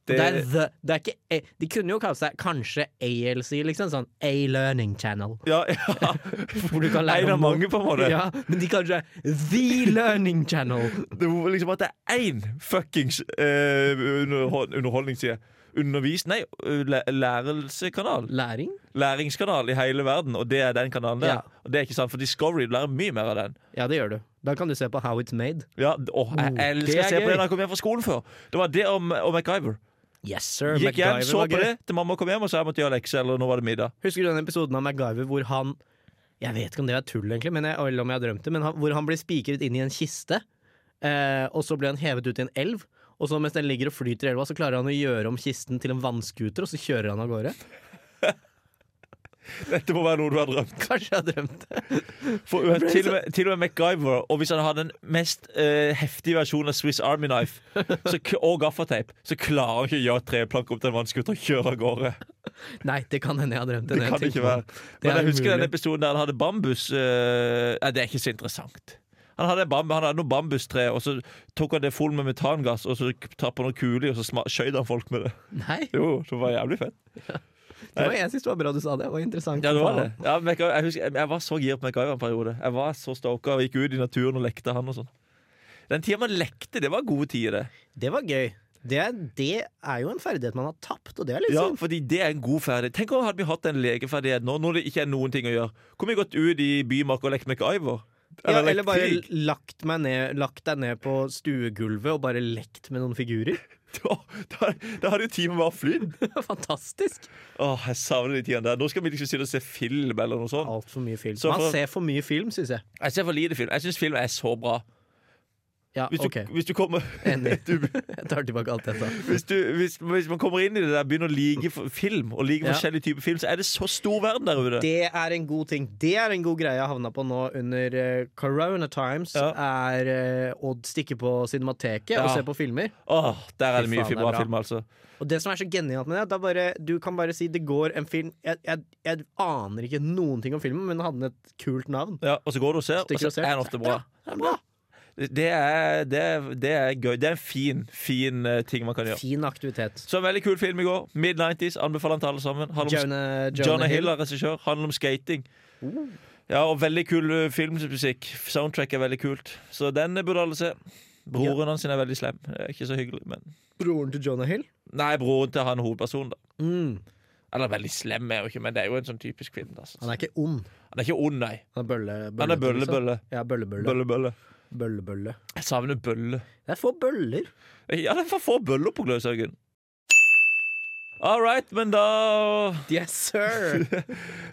Det, det, er the, det er ikke A, De kunne jo kalt seg kanskje ALC, liksom. Sånn A-learning channel.
Ja, ja.
Hvor du kan lære
En av
om
mange, på en måte.
Ja, men de kanskje er The learning channel.
Det var liksom at det er én fuckings eh, underhold- underholdningsside. Undervis... Nei, læ lærelsekanal.
Læring?
Læringskanal i hele verden, og det er den kanalen der.
Ja.
Og det er ikke sant, for Discovery lærer mye mer av den.
Ja, det gjør du. Da kan du se på How It's Made.
Ja, d- åh, jeg
Oh, det
elsker
er
å
gøy.
se på Mm. det da jeg kom hjem fra skolen før. Det var det om, om MacGyver.
Yes, sir.
Gikk hjem,
MacGyver
så
var
på
gøy.
det til mamma kom hjem og sa jeg måtte gjøre lekser, eller nå var det middag.
Husker du den episoden av MacGyver hvor han Jeg vet ikke om det er tull, egentlig, men jeg, eller om jeg har drømt det, men han, hvor han blir spikret inn i en kiste, eh, og så blir han hevet ut i en elv. Og så mens den ligger og flyter i elva, så klarer han å gjøre om kisten til en vannskuter, og så kjører han av gårde.
Dette må være noe du har drømt.
Kanskje jeg har drømt det.
For, uh, til, og med, til og med MacGyver, og hvis han hadde den mest eh, heftige versjonen av Swiss Army Knife så, k- og gaffateip, så klarer han ikke å gjøre et treplank opp til en vannskuter og kjøre av gårde.
Nei, det kan hende jeg har drømt det.
Det
når jeg
kan det
tenker
ikke
på
være.
det. Det
Men
er
jeg husker
umulig.
den episoden der han hadde bambus eh, Nei, det er ikke så interessant. Han hadde, bam, han hadde noe bambustre, og så tok han det full med metangass, og så tappa han noen kuler i, og så sma- skjøt han folk med det.
Nei,
Jo, det var jævlig fett.
det var, jeg syns det var bra du sa det. Det var interessant.
Ja, det var
å ta
det. Ja, MacGyver, jeg, husker, jeg, jeg var så gira på MacGyver en periode. Jeg var så stoka og gikk ut i naturen og lekte han og sånn. Den tida man lekte, det var gode tider, det.
opp. Det var gøy. Det er, det er jo en ferdighet man har tapt, og det er litt
Ja,
synd.
fordi det er en god ferdighet. Tenk om hadde vi hatt en legeferdighet nå, når det ikke er noen ting å gjøre. Kunne vi gått ut i bymarka og lekt MacGyver?
Ja,
lekt
eller bare
krig?
lagt, meg ned, lagt deg ned på stuegulvet og bare lekt med noen figurer.
Da, da, da hadde jo timen bare flydd.
Fantastisk.
Åh, jeg savner de tidene der. Nå skal vi liksom sitte og se film eller noe sånt.
Altfor mye film.
Så
Man
for-
ser for mye film, syns jeg.
Jeg ser for lite film. Jeg syns film er så bra.
Ja,
Hvis du,
OK.
hvis du kommer
Enig.
Du-
Jeg tar tilbake alt jeg sa.
hvis, du, hvis, hvis man kommer inn i det der begynner å like f- film, og like
Ja.
forskjellige typer film, så er det så stor verden der ute.
Det er en god ting. Det er en god greie jeg havna på nå under eh, Corona Times.
Ja.
Er eh, Odd stikke på Cinemateket og
Ja.
se på filmer.
Åh, der er det
Fy
mye
faen, det
film,
er
bra
bra.
film, altså.
Og det som er så genialt med det, det er bare, du kan bare si det går en film Jeg, jeg, jeg aner ikke noen ting om filmen, men den hadde et kult navn.
Ja, og så går du og ser, og
Stikker
så
og ser.
er den ofte bra. Det er, det, er, det er gøy. Det er en fin, fin eh, ting man kan gjøre.
Fin aktivitet.
Så en veldig kul film i går. Mid-90s. Anbefaler den til alle sammen. Handler om
Jonah, Jonah,
Jonah Hill
Hill. Uh.
er regissør. Handler om skating. Ja, og veldig kul eh, filmmusikk. Soundtrack er veldig kult. Så den eh, burde alle se. Broren hans er veldig slem. Det er Ikke så hyggelig, men
Broren til Jonah Hill.
Nei, broren til han hovedpersonen, da.
Mm.
Eller veldig slem er jo ikke, men det er jo en sånn typisk kvinne. Da,
Han
han,
er ikke ond.
er... ikke ond, nei.
Han er bølle, bølle, liksom.
Han er bølle, bølle.
Ja, bøllebølle.
Bølle, bølle.
Bøllebølle.
Jeg savner bølle.
Det er få bøller.
Ja, det er for få bøller på Gløshaugen. All right, men da
Yes, sir!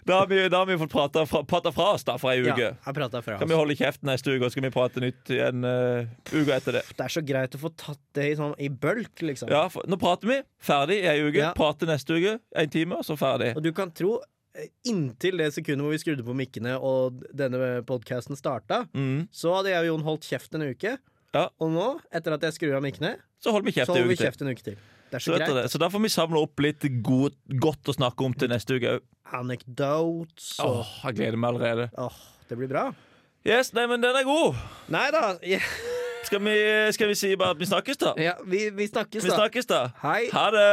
Da har vi, da har vi fått prata fra, prata fra oss da for ei
ja,
uke.
jeg prata fra
Kan vi holde kjeft neste uke, og så skal vi prate nytt igjen eh, uka etter det.
Det er så greit å få tatt det i, sånn, i bølk, liksom.
Ja, for, Nå prater vi. Ferdig i ei uke.
Ja.
Prate neste uke. En time, og så ferdig.
Og du kan tro, eh, inntil det sekundet hvor vi skrudde på mikkene og denne podkasten starta,
Mm.
så hadde jeg og Jon holdt kjeft en uke.
Ja.
Og nå, etter at jeg skrur av mikkene,
Så holder vi
så
kjeft ei
holder vi
uke til.
kjeft en uke til. Det er
Så,
så
etter
greit.
det. så da får vi samle opp litt god, godt å snakke om til neste uke òg.
Anecdotes og
Åh, jeg gleder meg allerede.
Åh, det blir bra.
Yes, nei, men den er god.
Nei da. Ja,
Skal vi, skal vi si bare at vi snakkes, da?
ja, vi, vi snakkes,
Vi
da.
snakkes, da.
Hei.
Ha det.